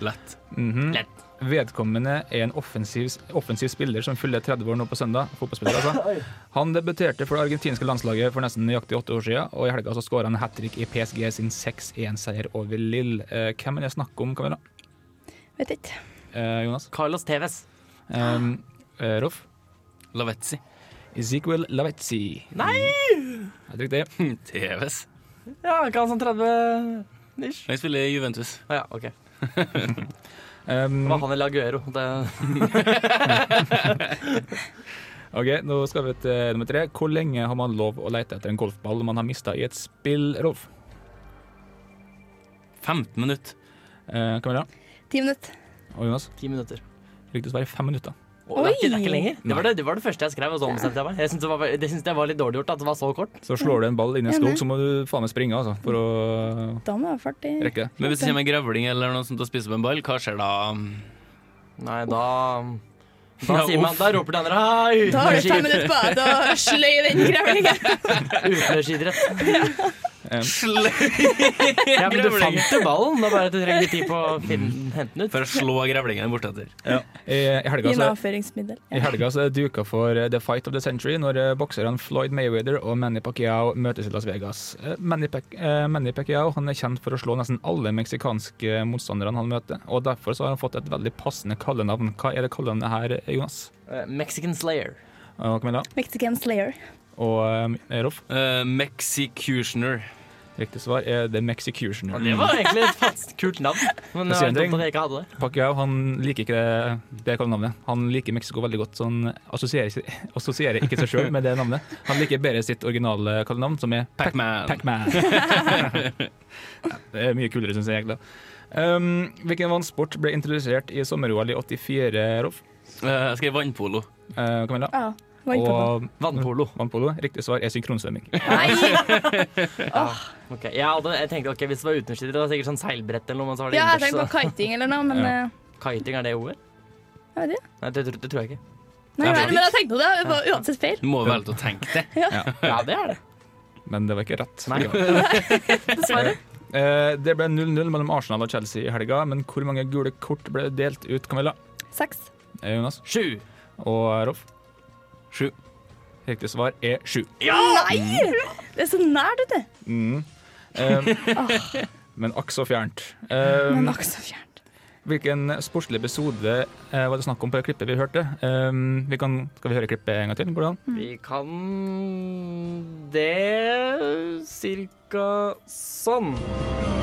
[SPEAKER 4] Lett.
[SPEAKER 6] Mhm.
[SPEAKER 5] Lett.
[SPEAKER 6] Vedkommende er en offensiv, offensiv spiller som fyller 30 år nå på søndag. Fotballspiller, altså. Han debuterte for det argentinske landslaget for nesten nøyaktig åtte år siden, og i helga så skåra han hat trick i PSG sin 6-1-seier over Lill. Eh, hvem er det snakk om, Camilla?
[SPEAKER 7] Vet ikke.
[SPEAKER 6] Eh, Jonas?
[SPEAKER 5] Carlos Tevez.
[SPEAKER 6] Eh, eh, Rolf?
[SPEAKER 4] Lavetzi.
[SPEAKER 6] Ezequiel Lavetzi.
[SPEAKER 5] Nei!
[SPEAKER 6] Helt riktig.
[SPEAKER 4] TVS.
[SPEAKER 5] Ja, ikke han som 30 ish?
[SPEAKER 4] Han spiller i Juventus.
[SPEAKER 5] Å ja, OK. Det
[SPEAKER 6] Um,
[SPEAKER 5] var han i Laguero. Det,
[SPEAKER 6] ok, nå skal vi til eh, nummer tre. Hvor lenge har man lov å lete etter en golfball man har mista i et spill, Rolf?
[SPEAKER 4] 15 minutter.
[SPEAKER 6] Eh, Camilla?
[SPEAKER 7] Ti minutter.
[SPEAKER 6] Og Jonas?
[SPEAKER 5] ti minutter.
[SPEAKER 6] Riktig svar er fem minutter.
[SPEAKER 5] Å, det, er ikke, det er ikke
[SPEAKER 7] Oi!
[SPEAKER 5] lenger. Det var det, det var det første jeg skrev, og så ombestemte jeg meg. Jeg syntes det, var, det syntes jeg var litt dårlig gjort at det var så kort.
[SPEAKER 6] Så slår du en ball inn i en
[SPEAKER 7] Ja,
[SPEAKER 6] skog,
[SPEAKER 7] men-
[SPEAKER 6] så må du faen meg springe altså, for å
[SPEAKER 7] Da må jeg ha fart i
[SPEAKER 6] rekke det.
[SPEAKER 4] Men hvis det kommer en grevling eller noe sånt og spiser på en ball, hva skjer da?
[SPEAKER 5] Nei, da Da,
[SPEAKER 4] Ja,
[SPEAKER 5] sier man,
[SPEAKER 4] uff.
[SPEAKER 5] da roper de andre Hei!
[SPEAKER 7] Da har du fem minutter på deg til å sløye den grevlingen.
[SPEAKER 5] Utenlandsidrett.
[SPEAKER 4] Sløy
[SPEAKER 5] Ja, men du
[SPEAKER 4] Grevling.
[SPEAKER 5] fant jo ballen. Det er bare at du trenger litt tid på å finne, hente den ut.
[SPEAKER 4] For å slå grevlingen bortetter.
[SPEAKER 6] I, i helga
[SPEAKER 7] Gi en
[SPEAKER 6] så,
[SPEAKER 7] avføringsmiddel.
[SPEAKER 6] i helga så er det duka for eh, The Fight of the Century når eh, bokserne Floyd Mayweather og Manny Pacquiao møtes i Las Vegas. Eh, Manny, Pac eh, Manny Pacquiao han er kjent for å slå nesten alle meksikanske motstanderne han møter, og derfor så har han fått et veldig passende kallenavn. Hva er det kallenavnet her, Jonas?
[SPEAKER 5] Eh, Mexican Slayer.
[SPEAKER 6] Og Camilla?
[SPEAKER 7] Mexican Slayer.
[SPEAKER 6] Og eh, Rolf?
[SPEAKER 4] Eh, Mexicutioner.
[SPEAKER 6] Riktig svar er The Mexicutioner.
[SPEAKER 5] Det var egentlig et fast, kult navn, men det
[SPEAKER 6] sier
[SPEAKER 5] var
[SPEAKER 6] en ting.
[SPEAKER 5] dumt at jeg ikke hadde det.
[SPEAKER 6] Pacquiao han liker ikke det, det kallenavnet. Han liker Mexico veldig godt, så han assosierer, ikke- assosierer ikke seg sjøl med det navnet. Han liker bedre sitt originale kallenavn, som er Pac-
[SPEAKER 4] Pacman.
[SPEAKER 6] Pac-Man. Ja, det er mye kulere, syns jeg. egentlig. Um, hvilken vannsport ble introdusert i sommer-OL i 84, Rolf?
[SPEAKER 4] Eh, Jeg skrev vannpolo.
[SPEAKER 6] Eh, Camilla?
[SPEAKER 7] Ja. Vannpolo.
[SPEAKER 6] Og vannpolo. Riktig svar er synkronsvømming.
[SPEAKER 5] Ok, jeg, hadde, jeg tenkte ok, Hvis det var utenriksskitter, det var sikkert sånn seilbrett eller noe. Men så var det
[SPEAKER 7] Ja, jeg
[SPEAKER 5] innendørs,
[SPEAKER 7] tenkte på
[SPEAKER 5] så da-
[SPEAKER 7] kiting eller noe, men
[SPEAKER 5] Ja.
[SPEAKER 7] eh,
[SPEAKER 5] Kiting, er det ordet?
[SPEAKER 7] jeg vet ikke.
[SPEAKER 5] Nei, det, tr- det tror jeg ikke.
[SPEAKER 7] Nei,
[SPEAKER 5] Ja,
[SPEAKER 7] nei,
[SPEAKER 5] bra.
[SPEAKER 7] men jeg tenkte på det. Det var uansett feil.
[SPEAKER 4] Må vel til å tenke det.
[SPEAKER 5] Ja, det er det.
[SPEAKER 6] Men det var ikke rett.
[SPEAKER 5] Nei. Dessverre.
[SPEAKER 6] Eh, Det ble 0-0 mellom Arsenal og Chelsea i helga, men hvor mange gule kort ble delt ut, Camilla?
[SPEAKER 7] Seks.
[SPEAKER 6] Eh, Jonas
[SPEAKER 4] Sju.
[SPEAKER 6] og eh, Rolf?
[SPEAKER 4] Sju.
[SPEAKER 6] Riktig svar er sju.
[SPEAKER 7] Nei! Det er så nært, vet du.
[SPEAKER 6] Mm. Eh, men akk så fjernt. Eh,
[SPEAKER 7] Men akkurat så fjernt.
[SPEAKER 6] hvilken sportslig episode eh, var det snakk om på det klippet vi hørte? Eh, vi kan, skal vi høre klippet en gang til? Hvordan?
[SPEAKER 7] Mm.
[SPEAKER 5] Vi kan det cirka sånn.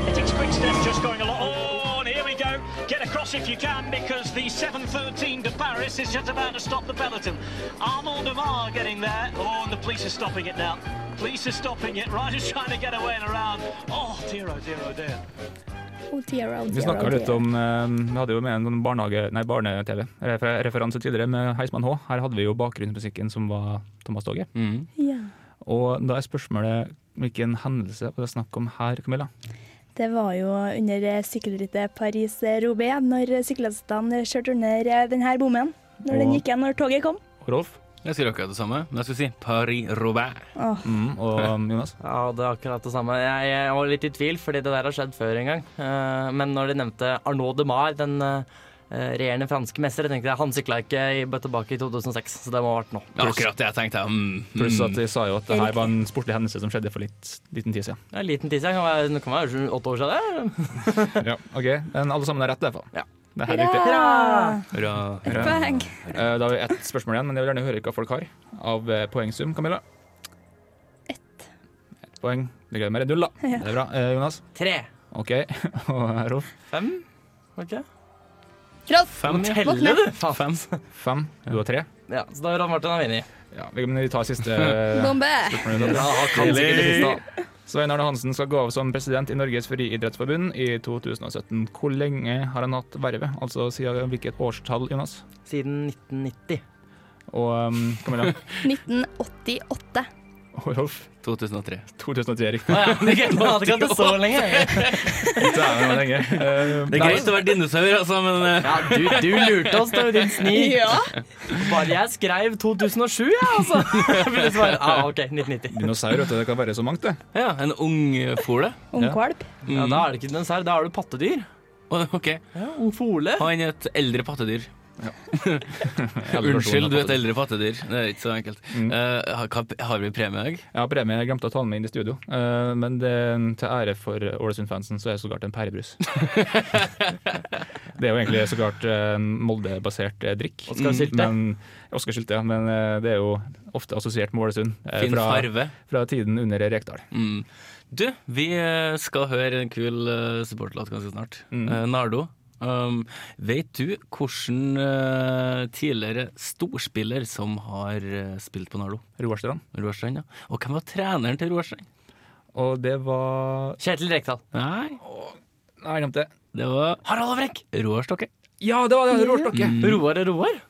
[SPEAKER 11] It takes quick steps, just going a lot on. Here we go. Get across if you can, because the 7.13 to Paris is just about to stop the peloton. Arnold Amar getting there. Oh, and the police are stopping it now. Police are stopping it. Riders trying to get away and around. Oh, dear, oh, dear, oh, dear.
[SPEAKER 7] Oh, dear, oh, dear,
[SPEAKER 6] Vi snakka
[SPEAKER 7] oh,
[SPEAKER 6] litt
[SPEAKER 7] dear.
[SPEAKER 6] om eh, Vi hadde jo med en sånn barnehage, nei, barne-TV refer- referanse tidligere med Heismann H. Her hadde vi jo bakgrunnsmusikken som var Thomas Toge.
[SPEAKER 4] Mm.
[SPEAKER 7] ja.
[SPEAKER 6] Og da er spørsmålet hvilken hendelse var det snakk om her, Camilla?
[SPEAKER 7] Det var jo under eh, sykkelrittet Paris-Roubais når syklistene kjørte under eh, denne bommen. Når den
[SPEAKER 6] Og-
[SPEAKER 7] gikk igjen når toget kom.
[SPEAKER 6] Og Rolf
[SPEAKER 4] Jeg skulle akkurat det samme, men jeg skulle si Paris-Robert.
[SPEAKER 7] Åh,
[SPEAKER 6] mm, og Jonas.
[SPEAKER 5] Ja, det er akkurat det samme. Jeg, jeg var litt i tvil, fordi det der har skjedd før en gang. Eh, men når de nevnte Arnaud de Mar, den eh, regjerende franske mester, jeg tenkte jeg han sykla ikke i, tilbake i 2006, så det må ha vært nå.
[SPEAKER 4] Ja, akkurat det jeg tenkte. Mm.
[SPEAKER 6] Pluss at de sa jo at det her var en sportlig hendelse som skjedde for litt liten tid siden.
[SPEAKER 5] Det er en liten tidsjakt. Kan være- det kan være sju- åtte år siden. det.
[SPEAKER 6] Ja, ok. Men alle sammen har rett, i hvert fall.
[SPEAKER 5] Ja.
[SPEAKER 6] Det her er riktig.
[SPEAKER 7] Hurra!
[SPEAKER 4] Bra.
[SPEAKER 7] Et poeng.
[SPEAKER 6] Eh, Da har vi ett spørsmål igjen, men jeg vil gjerne høre hva folk har av eh, poengsum. Camilla?
[SPEAKER 7] Ett.
[SPEAKER 6] Ett poeng. Det gleder meg. Null, da.
[SPEAKER 7] Ja.
[SPEAKER 6] Det er bra. Eh, Jonas?
[SPEAKER 5] Tre.
[SPEAKER 6] OK. Og Rolf?
[SPEAKER 5] Fem? Ok.
[SPEAKER 7] Rolf!
[SPEAKER 5] Du
[SPEAKER 4] Fem,
[SPEAKER 5] må
[SPEAKER 4] ja.
[SPEAKER 5] telle, du! Faen.
[SPEAKER 4] Fem.
[SPEAKER 6] Fem. Du har tre?
[SPEAKER 5] Ja, så da har Martin har vunnet.
[SPEAKER 6] Ja, vi men vi tar siste. eh,
[SPEAKER 7] Bombe!
[SPEAKER 6] spørsmål.
[SPEAKER 5] Ja, han kan sikkert det siste, da.
[SPEAKER 6] Svein Arne Hansen skal gå av som president i Norges friidrettsforbund i 2017. Hvor lenge har han hatt vervet? Altså siden hvilket årstall, Jonas?
[SPEAKER 5] Siden 1990.
[SPEAKER 6] Og um, Camilla?
[SPEAKER 7] 1988.
[SPEAKER 6] Og Rolf?
[SPEAKER 4] 2003.
[SPEAKER 6] 2010, riktig.
[SPEAKER 5] Å ja, det gikk- man hadde ikke hatt det så lenge.
[SPEAKER 6] Dæven, hvor lenge. Eh,
[SPEAKER 4] Det er greit å være dinosaur, altså, men eh,
[SPEAKER 5] Ja, du, du lurte oss, da, din snik.
[SPEAKER 7] Ja!
[SPEAKER 5] Bare jeg skrev 2007, jeg, altså. Jeg ville svare, ah, ok, 1990.
[SPEAKER 6] Dinosaur, vet du, det kan være så mangt, det.
[SPEAKER 4] ja, en ungfole.
[SPEAKER 7] Ungkvalp.
[SPEAKER 4] Mm.
[SPEAKER 5] Ja, da er det ikke dinosaur, da er du pattedyr.
[SPEAKER 4] Å, OK.
[SPEAKER 5] Ja, ung fole.
[SPEAKER 4] Han er et eldre pattedyr. Unnskyld, du er et eldre pattedyr. Det er ikke så enkelt.
[SPEAKER 6] Mm.
[SPEAKER 4] Eh, har- hva- har vi premie i dag?
[SPEAKER 6] Jeg har premie jeg glemte å ta den med inn i studio, Eh, men det, til ære for Ålesund-fansen så er det så klart en pærebrus. det er jo egentlig så klart eh, en Molde-basert eh, drikk.
[SPEAKER 5] Oskar
[SPEAKER 6] Mm,
[SPEAKER 5] Sylte.
[SPEAKER 6] men- Oskar Sylte, ja. Men eh, det er jo ofte assosiert med Ålesund. eh,
[SPEAKER 4] Fin
[SPEAKER 6] fra,
[SPEAKER 4] farve.
[SPEAKER 6] fra tiden under Rekdal.
[SPEAKER 4] Mm. Du, vi eh, skal høre en kul eh, supporterlåt ganske snart.
[SPEAKER 6] Mm.
[SPEAKER 4] Eh, Nardo, um, vet du hvordan eh, tidligere storspiller som har eh, spilt på Nardo?
[SPEAKER 6] Roarstrand.
[SPEAKER 4] Roar Strand, ja. Og hvem var treneren til Roar Strand?
[SPEAKER 6] Og det var
[SPEAKER 5] Kjetil Rekdal.
[SPEAKER 4] Nei,
[SPEAKER 6] Nei, jeg glemte det.
[SPEAKER 4] det var Harald Avrekk! Roar Stokke.
[SPEAKER 6] Ja, det var det! Roar Stokke.
[SPEAKER 5] Roar er Roar.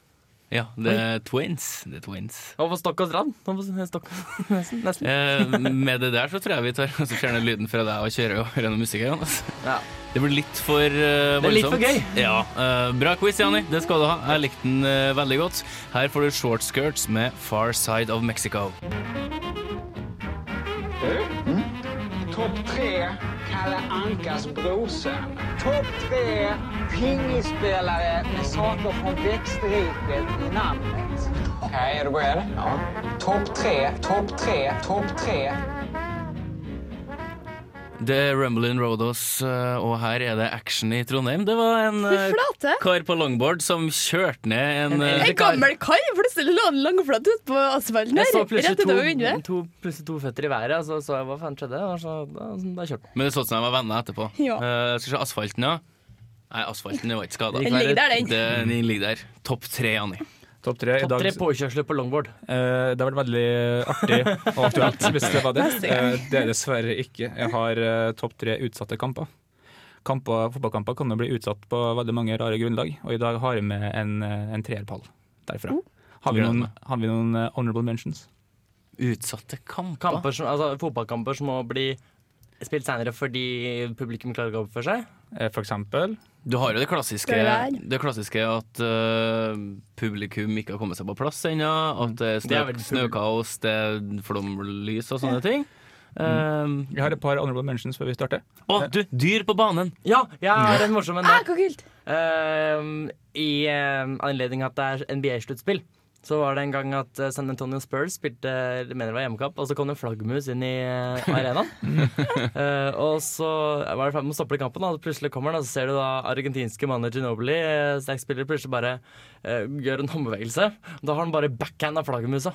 [SPEAKER 4] Ja, det er twins. Det er twins.
[SPEAKER 5] Over stokk og strand. Over stokk. Nesten. nesten.
[SPEAKER 4] Eh, med det der så tror jeg vi tar og så fjerner lyden fra deg og kjører over gjennom musikk. her, Jonas.
[SPEAKER 5] Ja.
[SPEAKER 4] Det blir litt for eh,
[SPEAKER 5] Det er litt
[SPEAKER 4] voldsomt.
[SPEAKER 5] for gøy.
[SPEAKER 4] Ja, eh, Bra quiz, Jani. Det skal du ha. Jeg likte den eh, veldig godt. Her får du Short Skirts med Far Side of Mexico.
[SPEAKER 12] Topp tre, Kalle Ankas brorsa. Topp tre, pingisspelare med saker från växtriket i namnet. Okej, är du beredd? Ja. Topp tre, topp tre, topp tre.
[SPEAKER 4] Det er Rumblin' Rodos, eh, og her er det action i Trondheim. Det var en
[SPEAKER 7] Fy
[SPEAKER 4] eh,
[SPEAKER 7] flate!
[SPEAKER 4] kar på longboard som kjørte ned en
[SPEAKER 5] En
[SPEAKER 4] eh,
[SPEAKER 5] elg.
[SPEAKER 7] En gammel kar! Plutselig lå han langflat ute på asfalten
[SPEAKER 5] Jeg
[SPEAKER 7] her.
[SPEAKER 5] så
[SPEAKER 7] Rett
[SPEAKER 5] plutselig to,
[SPEAKER 7] utover vinduet.
[SPEAKER 5] to, plutselig to føtter i været, og så så jeg hva faen skjedde. Og så, sånn- da, da kjørte den.
[SPEAKER 4] Men det så ut som de var venner etterpå.
[SPEAKER 7] Ja.
[SPEAKER 4] Eh, skal vi se asfalten, ja. Nei, asfalten den var ikke skada.
[SPEAKER 7] Den ligger der, den.
[SPEAKER 4] Den ligger der. Topp tre, Jani.
[SPEAKER 6] Topp tre i
[SPEAKER 5] Topp
[SPEAKER 6] dag.
[SPEAKER 5] tre påkjørsler på longboard.
[SPEAKER 6] Eh, Det har vært veldig artig og aktuelt, hvis det var det. Eh, Det er dessverre ikke. Jeg har eh, topp tre utsatte kamper. kamper. Fotballkamper kan jo bli utsatt på veldig mange rare grunnlag, og i dag har jeg med en, eh, en treerpall derfra. Har vi noen, har vi noen eh, honorable mentions?
[SPEAKER 4] Utsatte kamper?
[SPEAKER 5] kamper som, altså, fotballkamper som må bli spilt senere fordi publikum klarer ikke å oppføre seg.
[SPEAKER 6] Eh, For eksempel?
[SPEAKER 4] Du har jo det klassiske,
[SPEAKER 5] Skal det
[SPEAKER 4] det klassiske at øh, publikum ikke har kommet seg på plass ennå. At det er
[SPEAKER 6] Det
[SPEAKER 4] snø,
[SPEAKER 6] er vel publikum.
[SPEAKER 4] snøkaos, det er flomlys og sånne ting. Eh,
[SPEAKER 6] Mm. Jeg har et par honorable mentions før vi starter.
[SPEAKER 4] Å, du! Dyr på banen!
[SPEAKER 5] Ja, jeg har en morsom en der.
[SPEAKER 7] kult!
[SPEAKER 5] Ehm, I eh, anledning at det er NBA-sluttspill, så var det en gang at eh, San Antonio Spurs spilte jeg mener det var hjemmekamp, og så kom det en flaggermus inn i eh, arenaen. Eh, og så var det ferdig med å stoppe kampen, og plutselig kommer den, og så ser du da argentinske mannen Ginobili, eh, sterk spiller, plutselig bare eh, gjør en håndbevegelse. Da har han bare backhand av flaggermusa.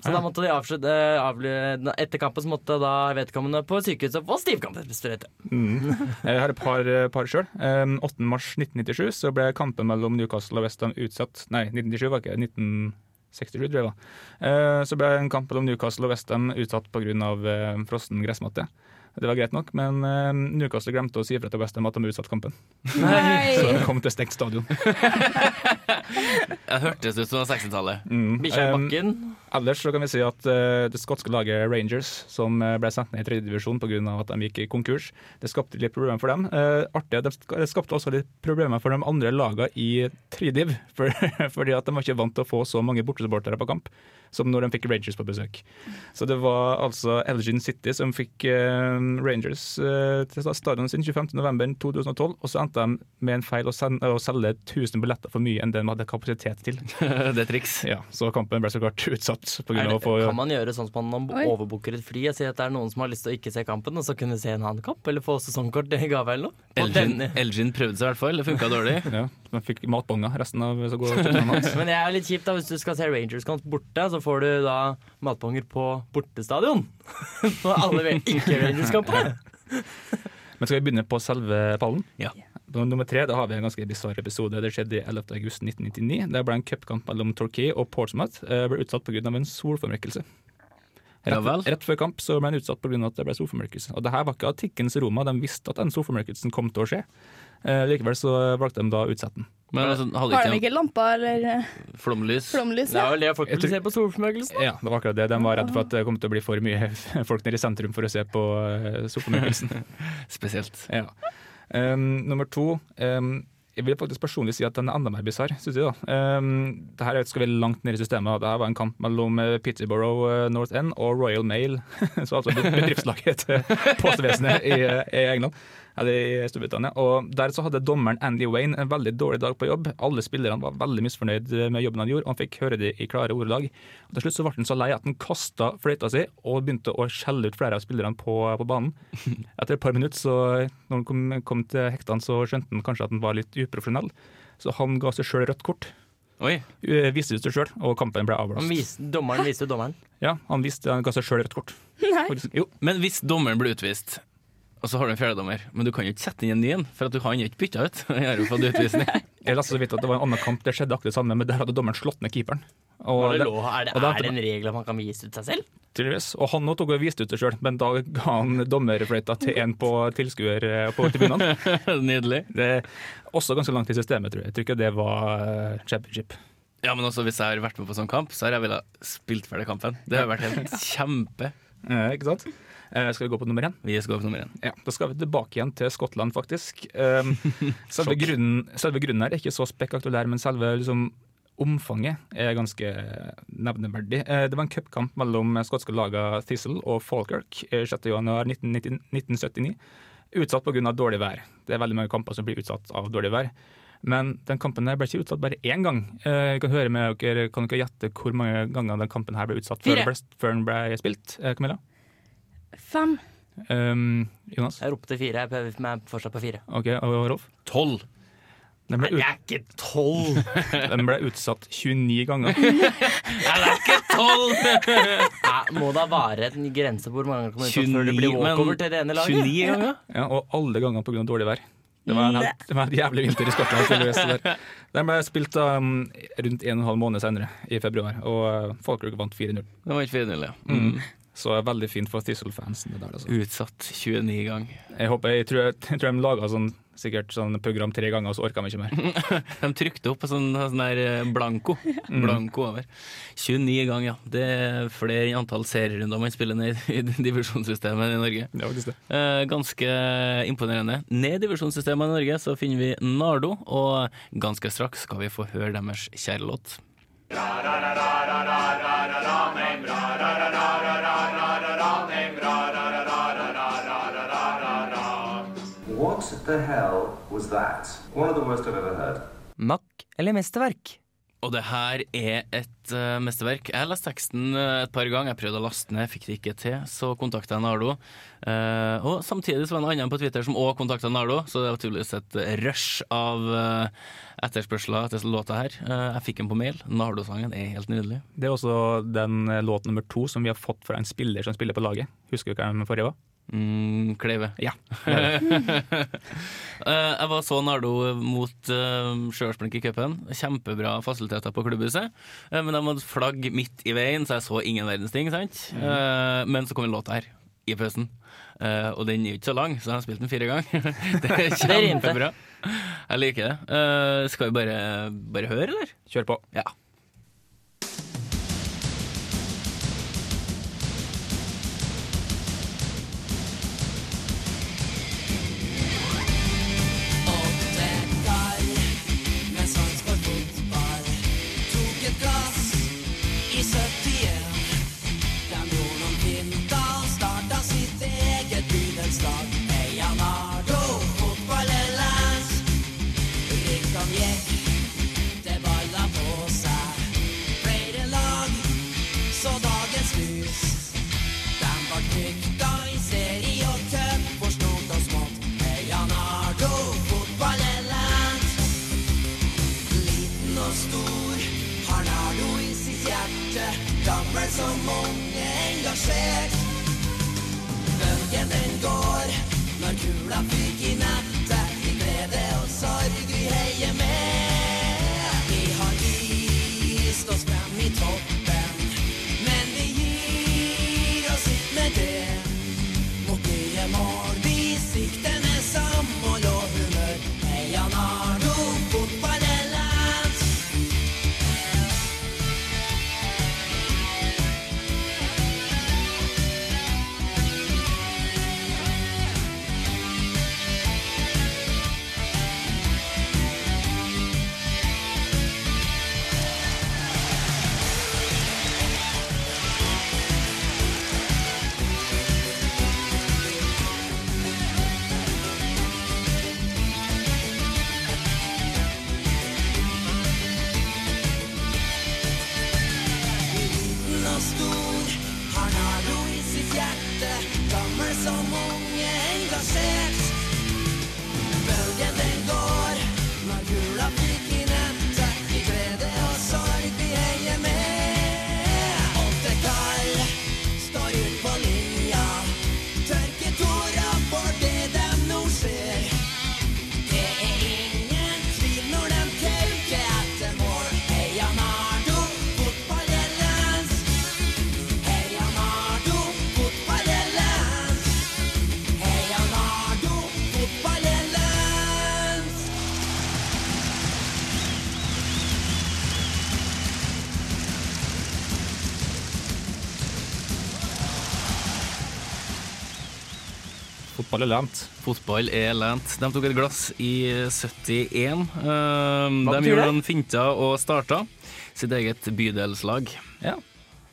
[SPEAKER 5] Så da måtte de avslutte eh, avly- Etter kampen så måtte da vedkommende på sykehuset få stivkampsprøyte.
[SPEAKER 6] Mm. Jeg har et par, eh, par sjøl. 8.3.1997 så ble kampen mellom Newcastle og Westham utsatt. Nei, 1997 var ikke det. 1967, tror jeg det var. Eh, Så ble en kamp mellom Newcastle og Westham utsatt pga. eh, frossen gressmatte. Det var greit nok, men eh, Newcastle glemte å si ifra til Westham at de hadde utsatt kampen.
[SPEAKER 7] Nei.
[SPEAKER 6] Så det kom til stengt stadion.
[SPEAKER 4] Det hørtes ut som det var 60-tallet.
[SPEAKER 6] Mm.
[SPEAKER 4] Bikkja i
[SPEAKER 6] Um,
[SPEAKER 4] bakken.
[SPEAKER 6] Ellers så kan vi si at eh, det skotske laget Rangers, som eh, ble sendt ned i tredje divisjon pga. at de gikk i konkurs, det skapte litt problemer for dem. Eh, artig, at de sk- Det skapte også litt problemer for de andre lagene i tridiv, for, fordi at de var ikke vant til å få så mange bortesupportere på kamp som når de fikk Rangers på besøk. Så det var altså Elgin City som fikk eh, Rangers eh, til stadion sin 25.11.2012, og så endte de med en feil å, sende, å selge 1000 billetter for mye enn det de hadde kapasitet til.
[SPEAKER 4] det er triks.
[SPEAKER 6] Ja, så kampen ble så klart utsatt på
[SPEAKER 5] Er
[SPEAKER 6] grunn av
[SPEAKER 5] det,
[SPEAKER 6] å få
[SPEAKER 5] Kan man gjøre sånn som man
[SPEAKER 6] Oi.
[SPEAKER 5] overbooker et fly og sier at det er noen som har lyst til å ikke se kampen, og så kunne se en annen kamp, eller få sesongkort i gave eller noe? På
[SPEAKER 4] Elgin,
[SPEAKER 5] denne-
[SPEAKER 4] Elgin prøvde seg i hvert fall. Det funka dårlig.
[SPEAKER 6] ja, Man fikk matbonger resten av så går
[SPEAKER 5] Men det er jo litt kjipt da, hvis du skal se Rangers-kamp borte, så får du da matponger på bortestadion. For alle vet ikke Rangers-kampen.
[SPEAKER 6] Men skal vi begynne på selve pallen?
[SPEAKER 4] Ja.
[SPEAKER 6] På nummer tre da har vi en ganske bisarr episode. Det skjedde i 11. august 1999. Det ble en cupkamp mellom Torquay og Portsmouth. Eh, ble utsatt pga. en solformørkelse.
[SPEAKER 4] Ja vel.
[SPEAKER 6] Rett, rett før kamp så ble han utsatt pga. at det ble solformørkelse. Og det her var ikke antikkens Roma, de visste at den solformørkelsen kom til å skje. Eh, likevel så valgte de da å utsette den.
[SPEAKER 4] Men altså, hadde
[SPEAKER 7] Har de
[SPEAKER 4] ikke
[SPEAKER 7] ikke lamper eller eh,
[SPEAKER 4] en flomlys?
[SPEAKER 7] flomlys? Ja.
[SPEAKER 5] det folk vil se på solformørkelsen.
[SPEAKER 6] Ja, det var akkurat det. De var redd for at det kom til å bli for mye folk nede i sentrum for å se på eh, solformørkelsen.
[SPEAKER 4] Spesielt.
[SPEAKER 6] Ja. Um, nummer to um, Jeg vil faktisk personlig si at den er enda mer bisarr, syns jeg. da. Um, det her skal vi langt ned i systemet. Det her var en kamp mellom eh, Peterborough eh, North End og Royal Mail, så altså be- bedriftslaget til postvesenet i, eh, i England. Eller i Storbritannia. Og Der så hadde dommeren Andy Wayne en veldig dårlig dag på jobb. Alle spillerne var veldig misfornøyd eh, med jobben han gjorde, og han fikk høre det i klare ordelag. Og til slutt så ble han så lei at han kasta fløyta si og begynte å skjelle ut flere av spillerne på, på banen. Etter et par minutter, så, når han kom, kom til hektene, så skjønte han kanskje at han var litt uprofesjonell. Så han ga seg sjøl rødt kort.
[SPEAKER 4] Oi.
[SPEAKER 6] Eh, Viste det seg sjøl, og kampen ble
[SPEAKER 5] Han
[SPEAKER 6] avblåst.
[SPEAKER 5] vis, dommeren viste jo dommeren.
[SPEAKER 6] Ja, han, viste, han ga seg sjøl rødt kort. Faktisk. Jo.
[SPEAKER 4] Men hvis dommeren blir utvist, og så har du en fjerdedommer, men du kan jo ikke sette inn en ny en, for at du har han ikke bytta ut. Han har jo fått utvisning.
[SPEAKER 6] Jeg leste så vidt at det var en annen kamp, det skjedde akkurat det samme, men der hadde dommeren slått ned keeperen. Og
[SPEAKER 5] Var det
[SPEAKER 6] det-
[SPEAKER 5] lov? Er, det,
[SPEAKER 6] og
[SPEAKER 5] er
[SPEAKER 6] det-
[SPEAKER 5] det en regel at man kan vise ut seg selv?
[SPEAKER 6] Tydeligvis. Og han nå tok og viste ut det sjøl, men da ga han dommerfløyta til en på tilskuer eh, på tribunene.
[SPEAKER 4] Nydelig.
[SPEAKER 6] Det er også ganske langt i systemet, tror jeg. Jeg tror ikke det var eh, championship.
[SPEAKER 4] Ja, men også hvis jeg har vært med på sånn kamp, så har jeg villet spilt ferdig kampen. Det har vært helt kjempe.
[SPEAKER 6] Eh, ikke sant? Eh, skal vi gå på nummer én?
[SPEAKER 4] Vi skal gå på nummer én.
[SPEAKER 6] Ja, Da skal vi tilbake igjen til Skottland, faktisk. Um, selve, grunnen, selve grunnen her er ikke så spektakulær, men selve liksom, omfanget er ganske nevneverdig. Eh, Det var en cupkamp mellom skotske lagene Thistle og Falkirk eh, 6. januar 1990 1979. Utsatt pga. dårlig vær. Det er veldig mange kamper som blir utsatt av dårlig vær. Men den kampen her ble ikke utsatt bare én gang. Eh, Jeg kan høre med dere, kan dere gjette hvor mange ganger den kampen her ble utsatt før
[SPEAKER 7] Fire.
[SPEAKER 6] den ble, før den ble spilt? Eh, Camilla?
[SPEAKER 7] Fem.
[SPEAKER 6] Um, Jonas?
[SPEAKER 5] Jeg ropte fire, jeg prøver meg fortsatt på fire.
[SPEAKER 6] Ok, og Rolf?
[SPEAKER 4] Tolv.
[SPEAKER 6] Den ble, ut,
[SPEAKER 5] Ikke tolv!
[SPEAKER 6] den ble utsatt 29 ganger.
[SPEAKER 4] Ikke tolv!
[SPEAKER 5] Nei, Må da være en grense på hvor mange ganger kommer ut før det
[SPEAKER 4] 29,
[SPEAKER 5] blir walkover
[SPEAKER 4] men-
[SPEAKER 5] til det ene laget?
[SPEAKER 4] 29 ganger?
[SPEAKER 6] Ja, og alle gangene pga. dårlig vær. Det var, en, helt- det var en jævlig vinter i Skottland. tydeligvis, det der. Den ble spilt um, rundt en og en halv måned senere, i februar, og uh, Falkirk vant 4-0.
[SPEAKER 4] Det var ikke 4-0, ja.
[SPEAKER 6] Mm. Så
[SPEAKER 4] Mm.
[SPEAKER 6] veldig fint for Thistle-fansen. det der, altså.
[SPEAKER 4] Utsatt 29 ganger.
[SPEAKER 6] Jeg håper, jeg tror, jeg tror de laga sånn Sikkert sånn program tre ganger, så orka vi ikke mer.
[SPEAKER 4] De trykte opp på sånn, sånn der eh, blanko. Blanko over. 29 ganger, ja. Det er flere enn antall serierunder man spiller ned i divisjonssystemet i Norge. Eh, Ganske imponerende. Ned i divisjonssystemet i Norge så finner vi Nardo, og ganske straks skal vi få høre deres kjære låt.
[SPEAKER 13] What the hell was that? One of the worst I've ever heard.
[SPEAKER 5] Mack eller mesterverk?
[SPEAKER 4] Og det her er et eh, mesterverk. Jeg leste teksten eh, et par ganger. Jeg prøvde å laste ned, fikk det ikke til. Så kontakta jeg Nardo. Eh, og samtidig så var det en annen på Twitter som òg kontakta Nardo, så det var tydeligvis et rush av eh, etterspørsler etter låta her. Eh, jeg fikk den på mail. Nardo-sangen er helt nydelig.
[SPEAKER 6] Det er også den eh, låt nummer to som vi har fått fra en spiller som spiller på laget. Husker du hvem forrige var?
[SPEAKER 4] Mm, Kleve.
[SPEAKER 6] Ja.
[SPEAKER 4] Eh, jeg var så Nardo mot uh, Stjørdalsblink i cupen. Kjempebra fasiliteter på klubbhuset. Eh, men de hadde flagg midt i veien, så jeg så ingen verdens ting. Sant?
[SPEAKER 6] Mhm.
[SPEAKER 4] Eh, men så kom en låt her, i pausen. Eh, og den er jo ikke så lang, så jeg har spilt den fire ganger. det er
[SPEAKER 5] rimte.
[SPEAKER 4] kjempebra. Jeg liker det. Eh, skal vi bare, bare høre, eller?
[SPEAKER 6] Kjør på.
[SPEAKER 4] Ja.
[SPEAKER 14] Gammel som mange engasjert Bølgen den går Når kula fyker i nettet I glede og sorg vi heier med Vi har vist oss frem i toppen Men vi gir oss ikke med det Mot nye mål vi sikter ned samhold og humør Heia Nardo, fotball er lands liten og stor Har Nardo i sitt hjerte Gammel som unge engasjert Bølgen den går Når gula fikk i nettet I glede og sorg vi heier med Åtte kall Står ut på linja Tørke tåra for det dem nå ser Det er ingen tvil når dem kauker etter mål Heia Nardo, fotball er lands Heia Nardo, fotball er lands Heia Nardo, fotball er lands
[SPEAKER 6] Fotball er lent.
[SPEAKER 4] Fotball er lent. De tok et glass i 71. Eh,
[SPEAKER 6] Hva
[SPEAKER 4] de
[SPEAKER 6] betyr
[SPEAKER 4] gjorde
[SPEAKER 6] det?
[SPEAKER 4] noen finter og starta sitt eget bydelslag.
[SPEAKER 6] Ja.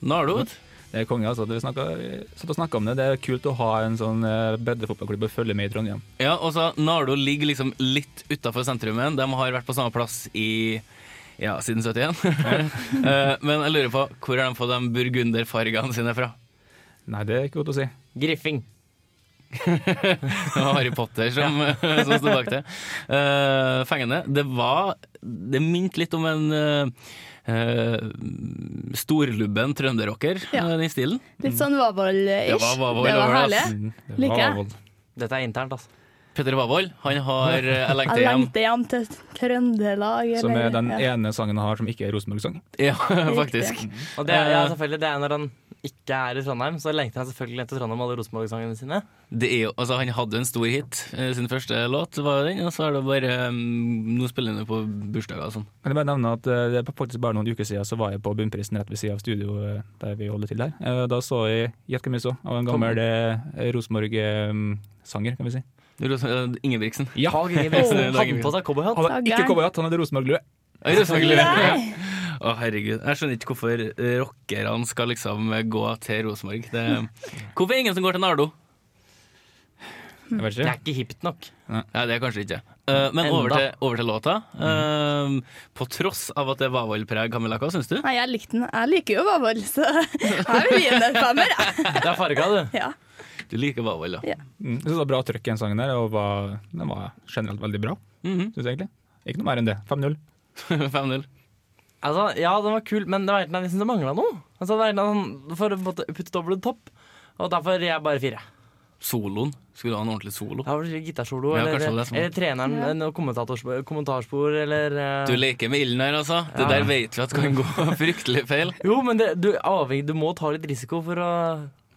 [SPEAKER 4] Nardo, vet du.
[SPEAKER 6] Det er konge, altså. Vi snakket, vi satt og snakket om det. Det er kult å ha en sånn eh, breddefotballklubb å følge med i Trondheim.
[SPEAKER 4] Ja, og så Nardo ligger liksom litt utafor sentrumen. De har vært på samme plass i ja, siden 71. Eh, Men jeg lurer på hvor har de fått de burgunderfargene sine fra?
[SPEAKER 6] Nei, det er ikke godt å si.
[SPEAKER 5] Griffing.
[SPEAKER 4] Det var Harry Potter som, som sto bak det. Eh, fengende. Det var Det minte litt om en eh, eh, storlubben trønderrocker, eh, den stilen.
[SPEAKER 7] Litt sånn Vavoll-ish.
[SPEAKER 4] Det var Vavoll
[SPEAKER 7] Det var
[SPEAKER 4] over det,
[SPEAKER 7] herlig.
[SPEAKER 4] ass. Mm, det var
[SPEAKER 7] Liker jeg.
[SPEAKER 4] Vavoll.
[SPEAKER 5] Dette er internt, altså.
[SPEAKER 4] Petter Wavold, han har eh, Jeg lengter
[SPEAKER 7] Jeg
[SPEAKER 4] hjem.
[SPEAKER 7] lengter hjem til Trøndelag.
[SPEAKER 6] Som er
[SPEAKER 7] eller-
[SPEAKER 6] den
[SPEAKER 7] ja.
[SPEAKER 6] ene sangen han har som ikke er Rosenborg-sang.
[SPEAKER 4] Ja,
[SPEAKER 7] faktisk.
[SPEAKER 5] Og det, er- ja,
[SPEAKER 4] Eh.
[SPEAKER 5] selvfølgelig, det er når han ikke er i Trondheim, så lengter han selvfølgelig til Trondheim med alle Rosenborg-sangene sine.
[SPEAKER 4] Det er jo, altså, han hadde jo en stor hit. Eh, Sin første låt var jo den, og så er det bare eh, Nå spiller han jo på bursdager og sånn.
[SPEAKER 6] Kan jeg bare nevne at eh, det er faktisk bare noen uker siden så var jeg på Bunnprisen rett ved siden av studio eh, der vi holder til her. Eh, Da så jeg Gjett hvem jeg så, av en gammel eh, Rosenborg-sanger, kan vi si.
[SPEAKER 4] Ros- eh, Ingebrigtsen.
[SPEAKER 6] Ja.
[SPEAKER 4] Dag Ingebrigtsen, Dag Ingebrigtsen.
[SPEAKER 6] Han hadde ikke cowboyhatt, han hadde Rosenborg-lue.
[SPEAKER 4] Ja, Rosenborg-lue.
[SPEAKER 6] Nei.
[SPEAKER 4] Å, herregud. Jeg skjønner ikke hvorfor rockerne skal liksom gå til Rosenborg. Det... Hvorfor er det ingen som går til Nardo?
[SPEAKER 7] Mm.
[SPEAKER 6] Jeg vet ikke.
[SPEAKER 5] Det er ikke hipt nok.
[SPEAKER 4] Nei, det er kanskje ikke. Eh, men over til,
[SPEAKER 5] Enda. Mhm.
[SPEAKER 4] over til låta. Eh, på tross av at det er Vavoll-preg, Camilla, hva syns du?
[SPEAKER 7] Nei, jeg likte den. Jeg liker jo Vavoll, så jeg vil gi den en femmer. jeg.
[SPEAKER 4] Det er farga, du.
[SPEAKER 7] Ja.
[SPEAKER 4] Du liker Vavoll, da.
[SPEAKER 7] Ja.
[SPEAKER 6] Mm. Jeg synes det var bra trøkk i den sangen der, og var, den var generelt veldig bra. Synes jeg egentlig. Ikke noe mer enn det. 5-0.
[SPEAKER 4] 5-0.
[SPEAKER 5] Altså, ja, den var kul, men det var egentlig, jeg synes det mangla noe. Altså, det var egentlig, for å putte putte det over the top. Og derfor er jeg bare fire.
[SPEAKER 4] Soloen. Skulle du ha en ordentlig solo?
[SPEAKER 5] Ja, det Gitarsolo,
[SPEAKER 4] Ja,
[SPEAKER 5] eller,
[SPEAKER 4] kanskje det var det som var.
[SPEAKER 5] eller treneren, noe kommentatorspor, kommentarspor, eller
[SPEAKER 4] Du
[SPEAKER 5] eh,
[SPEAKER 4] leker med ilden her, altså. Det
[SPEAKER 5] Ja.
[SPEAKER 4] der vet vi at kan gå fryktelig feil.
[SPEAKER 5] Jo, men det, du, er avhengig, du må ta litt risiko for å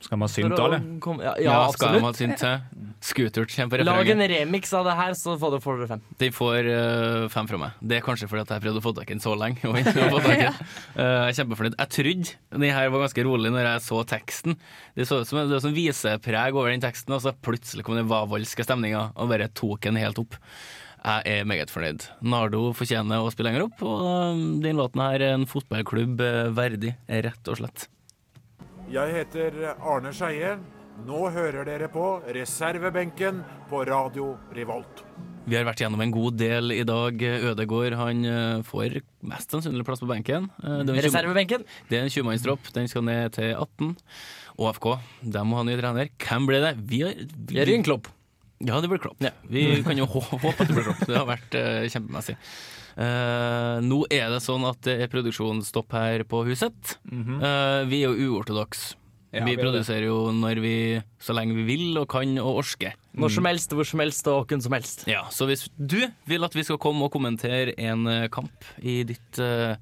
[SPEAKER 6] Skal man
[SPEAKER 5] synt, da, eller? Ja, ja,
[SPEAKER 4] skal de ha
[SPEAKER 5] absolutt.
[SPEAKER 4] synt til? Scooter kommer på
[SPEAKER 5] Lag en
[SPEAKER 4] refrenget.
[SPEAKER 5] remix av det her, så får du får dere fem.
[SPEAKER 4] De får eh, fem fra meg. Det er kanskje fordi at jeg prøvde å få tak i den så lenge. Og ikke har fått tak i den. Eh, jeg er kjempefornøyd. Jeg trodde den her var ganske rolig når jeg så teksten. Det så ut som det var sånn visepreg over den teksten, og så plutselig kom den vavolske stemninga og bare tok den helt opp. Jeg er meget fornøyd. Nardo fortjener å spille lenger opp, og eh, den låten her er en fotballklubb eh, verdig, rett og slett.
[SPEAKER 15] Jeg heter Arne Skeie. Nå hører dere på reservebenken på Radio Revolt.
[SPEAKER 4] Vi har vært gjennom en god del i dag. Ødegård han eh, får mest sannsynlig plass på benken. Eh, det er en tjue-
[SPEAKER 5] Reservebenken.
[SPEAKER 4] Det er en 20-mannstropp. Den skal ned til 18. Og AFK, de må ha ny trener. Hvem blir det? Vi har vi-
[SPEAKER 5] Jørgen Klopp.
[SPEAKER 4] Ja, det blir Klopp. Vi kan jo hå- håpe at det blir Klopp. Det har vært eh, kjempemessig. Eh, nå er det sånn at det er produksjonsstopp her på huset.
[SPEAKER 6] Mhm.
[SPEAKER 4] Eh, vi er jo uortodokse.
[SPEAKER 5] Ja,
[SPEAKER 4] vi
[SPEAKER 5] vi er det.
[SPEAKER 4] produserer jo når vi, så lenge vi vil og kan og orsker.
[SPEAKER 5] Når som helst, hvor som helst og hvem som helst.
[SPEAKER 4] Ja, Så hvis du vil at vi skal komme og kommentere en eh, kamp i ditt eh,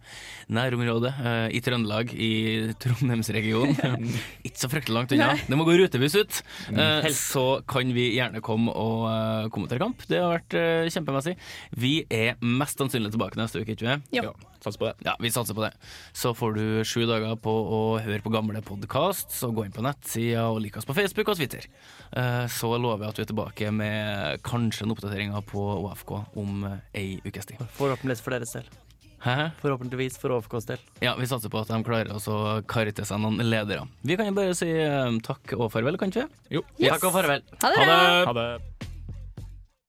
[SPEAKER 4] nærområde, eh, i Trøndelag, i Trondheimsregionen Ikke så fryktelig langt unna,
[SPEAKER 5] Nei.
[SPEAKER 4] det må gå rutebuss ut. eh,
[SPEAKER 5] Helst.
[SPEAKER 4] så kan vi gjerne komme og eh, kommentere kamp. Det har vært eh, kjempemessig. Vi er mest sannsynlig tilbake neste uke, ikke vi?
[SPEAKER 7] Jo. Ja,
[SPEAKER 6] Sats på det.
[SPEAKER 4] Ja, vi satser på det. Så får du sju dager på å høre på gamle podkast, så gå inn på nettsida og lik oss på Facebook og Twitter. Eh, Så lover jeg at vi er tilbake med kanskje en oppdatering på OFK om eh, ei ukes tid.
[SPEAKER 5] Forhåpentligvis for deres del.
[SPEAKER 4] Hæ?
[SPEAKER 5] Forhåpentligvis for OFKs del.
[SPEAKER 4] Ja, vi satser på at de klarer oss å karre til seg noen ledere. Vi kan jo bare si eh, takk og farvel, kan ikke vi?
[SPEAKER 6] Jo.
[SPEAKER 5] Takk og farvel.
[SPEAKER 4] Ha det.
[SPEAKER 5] Ha det.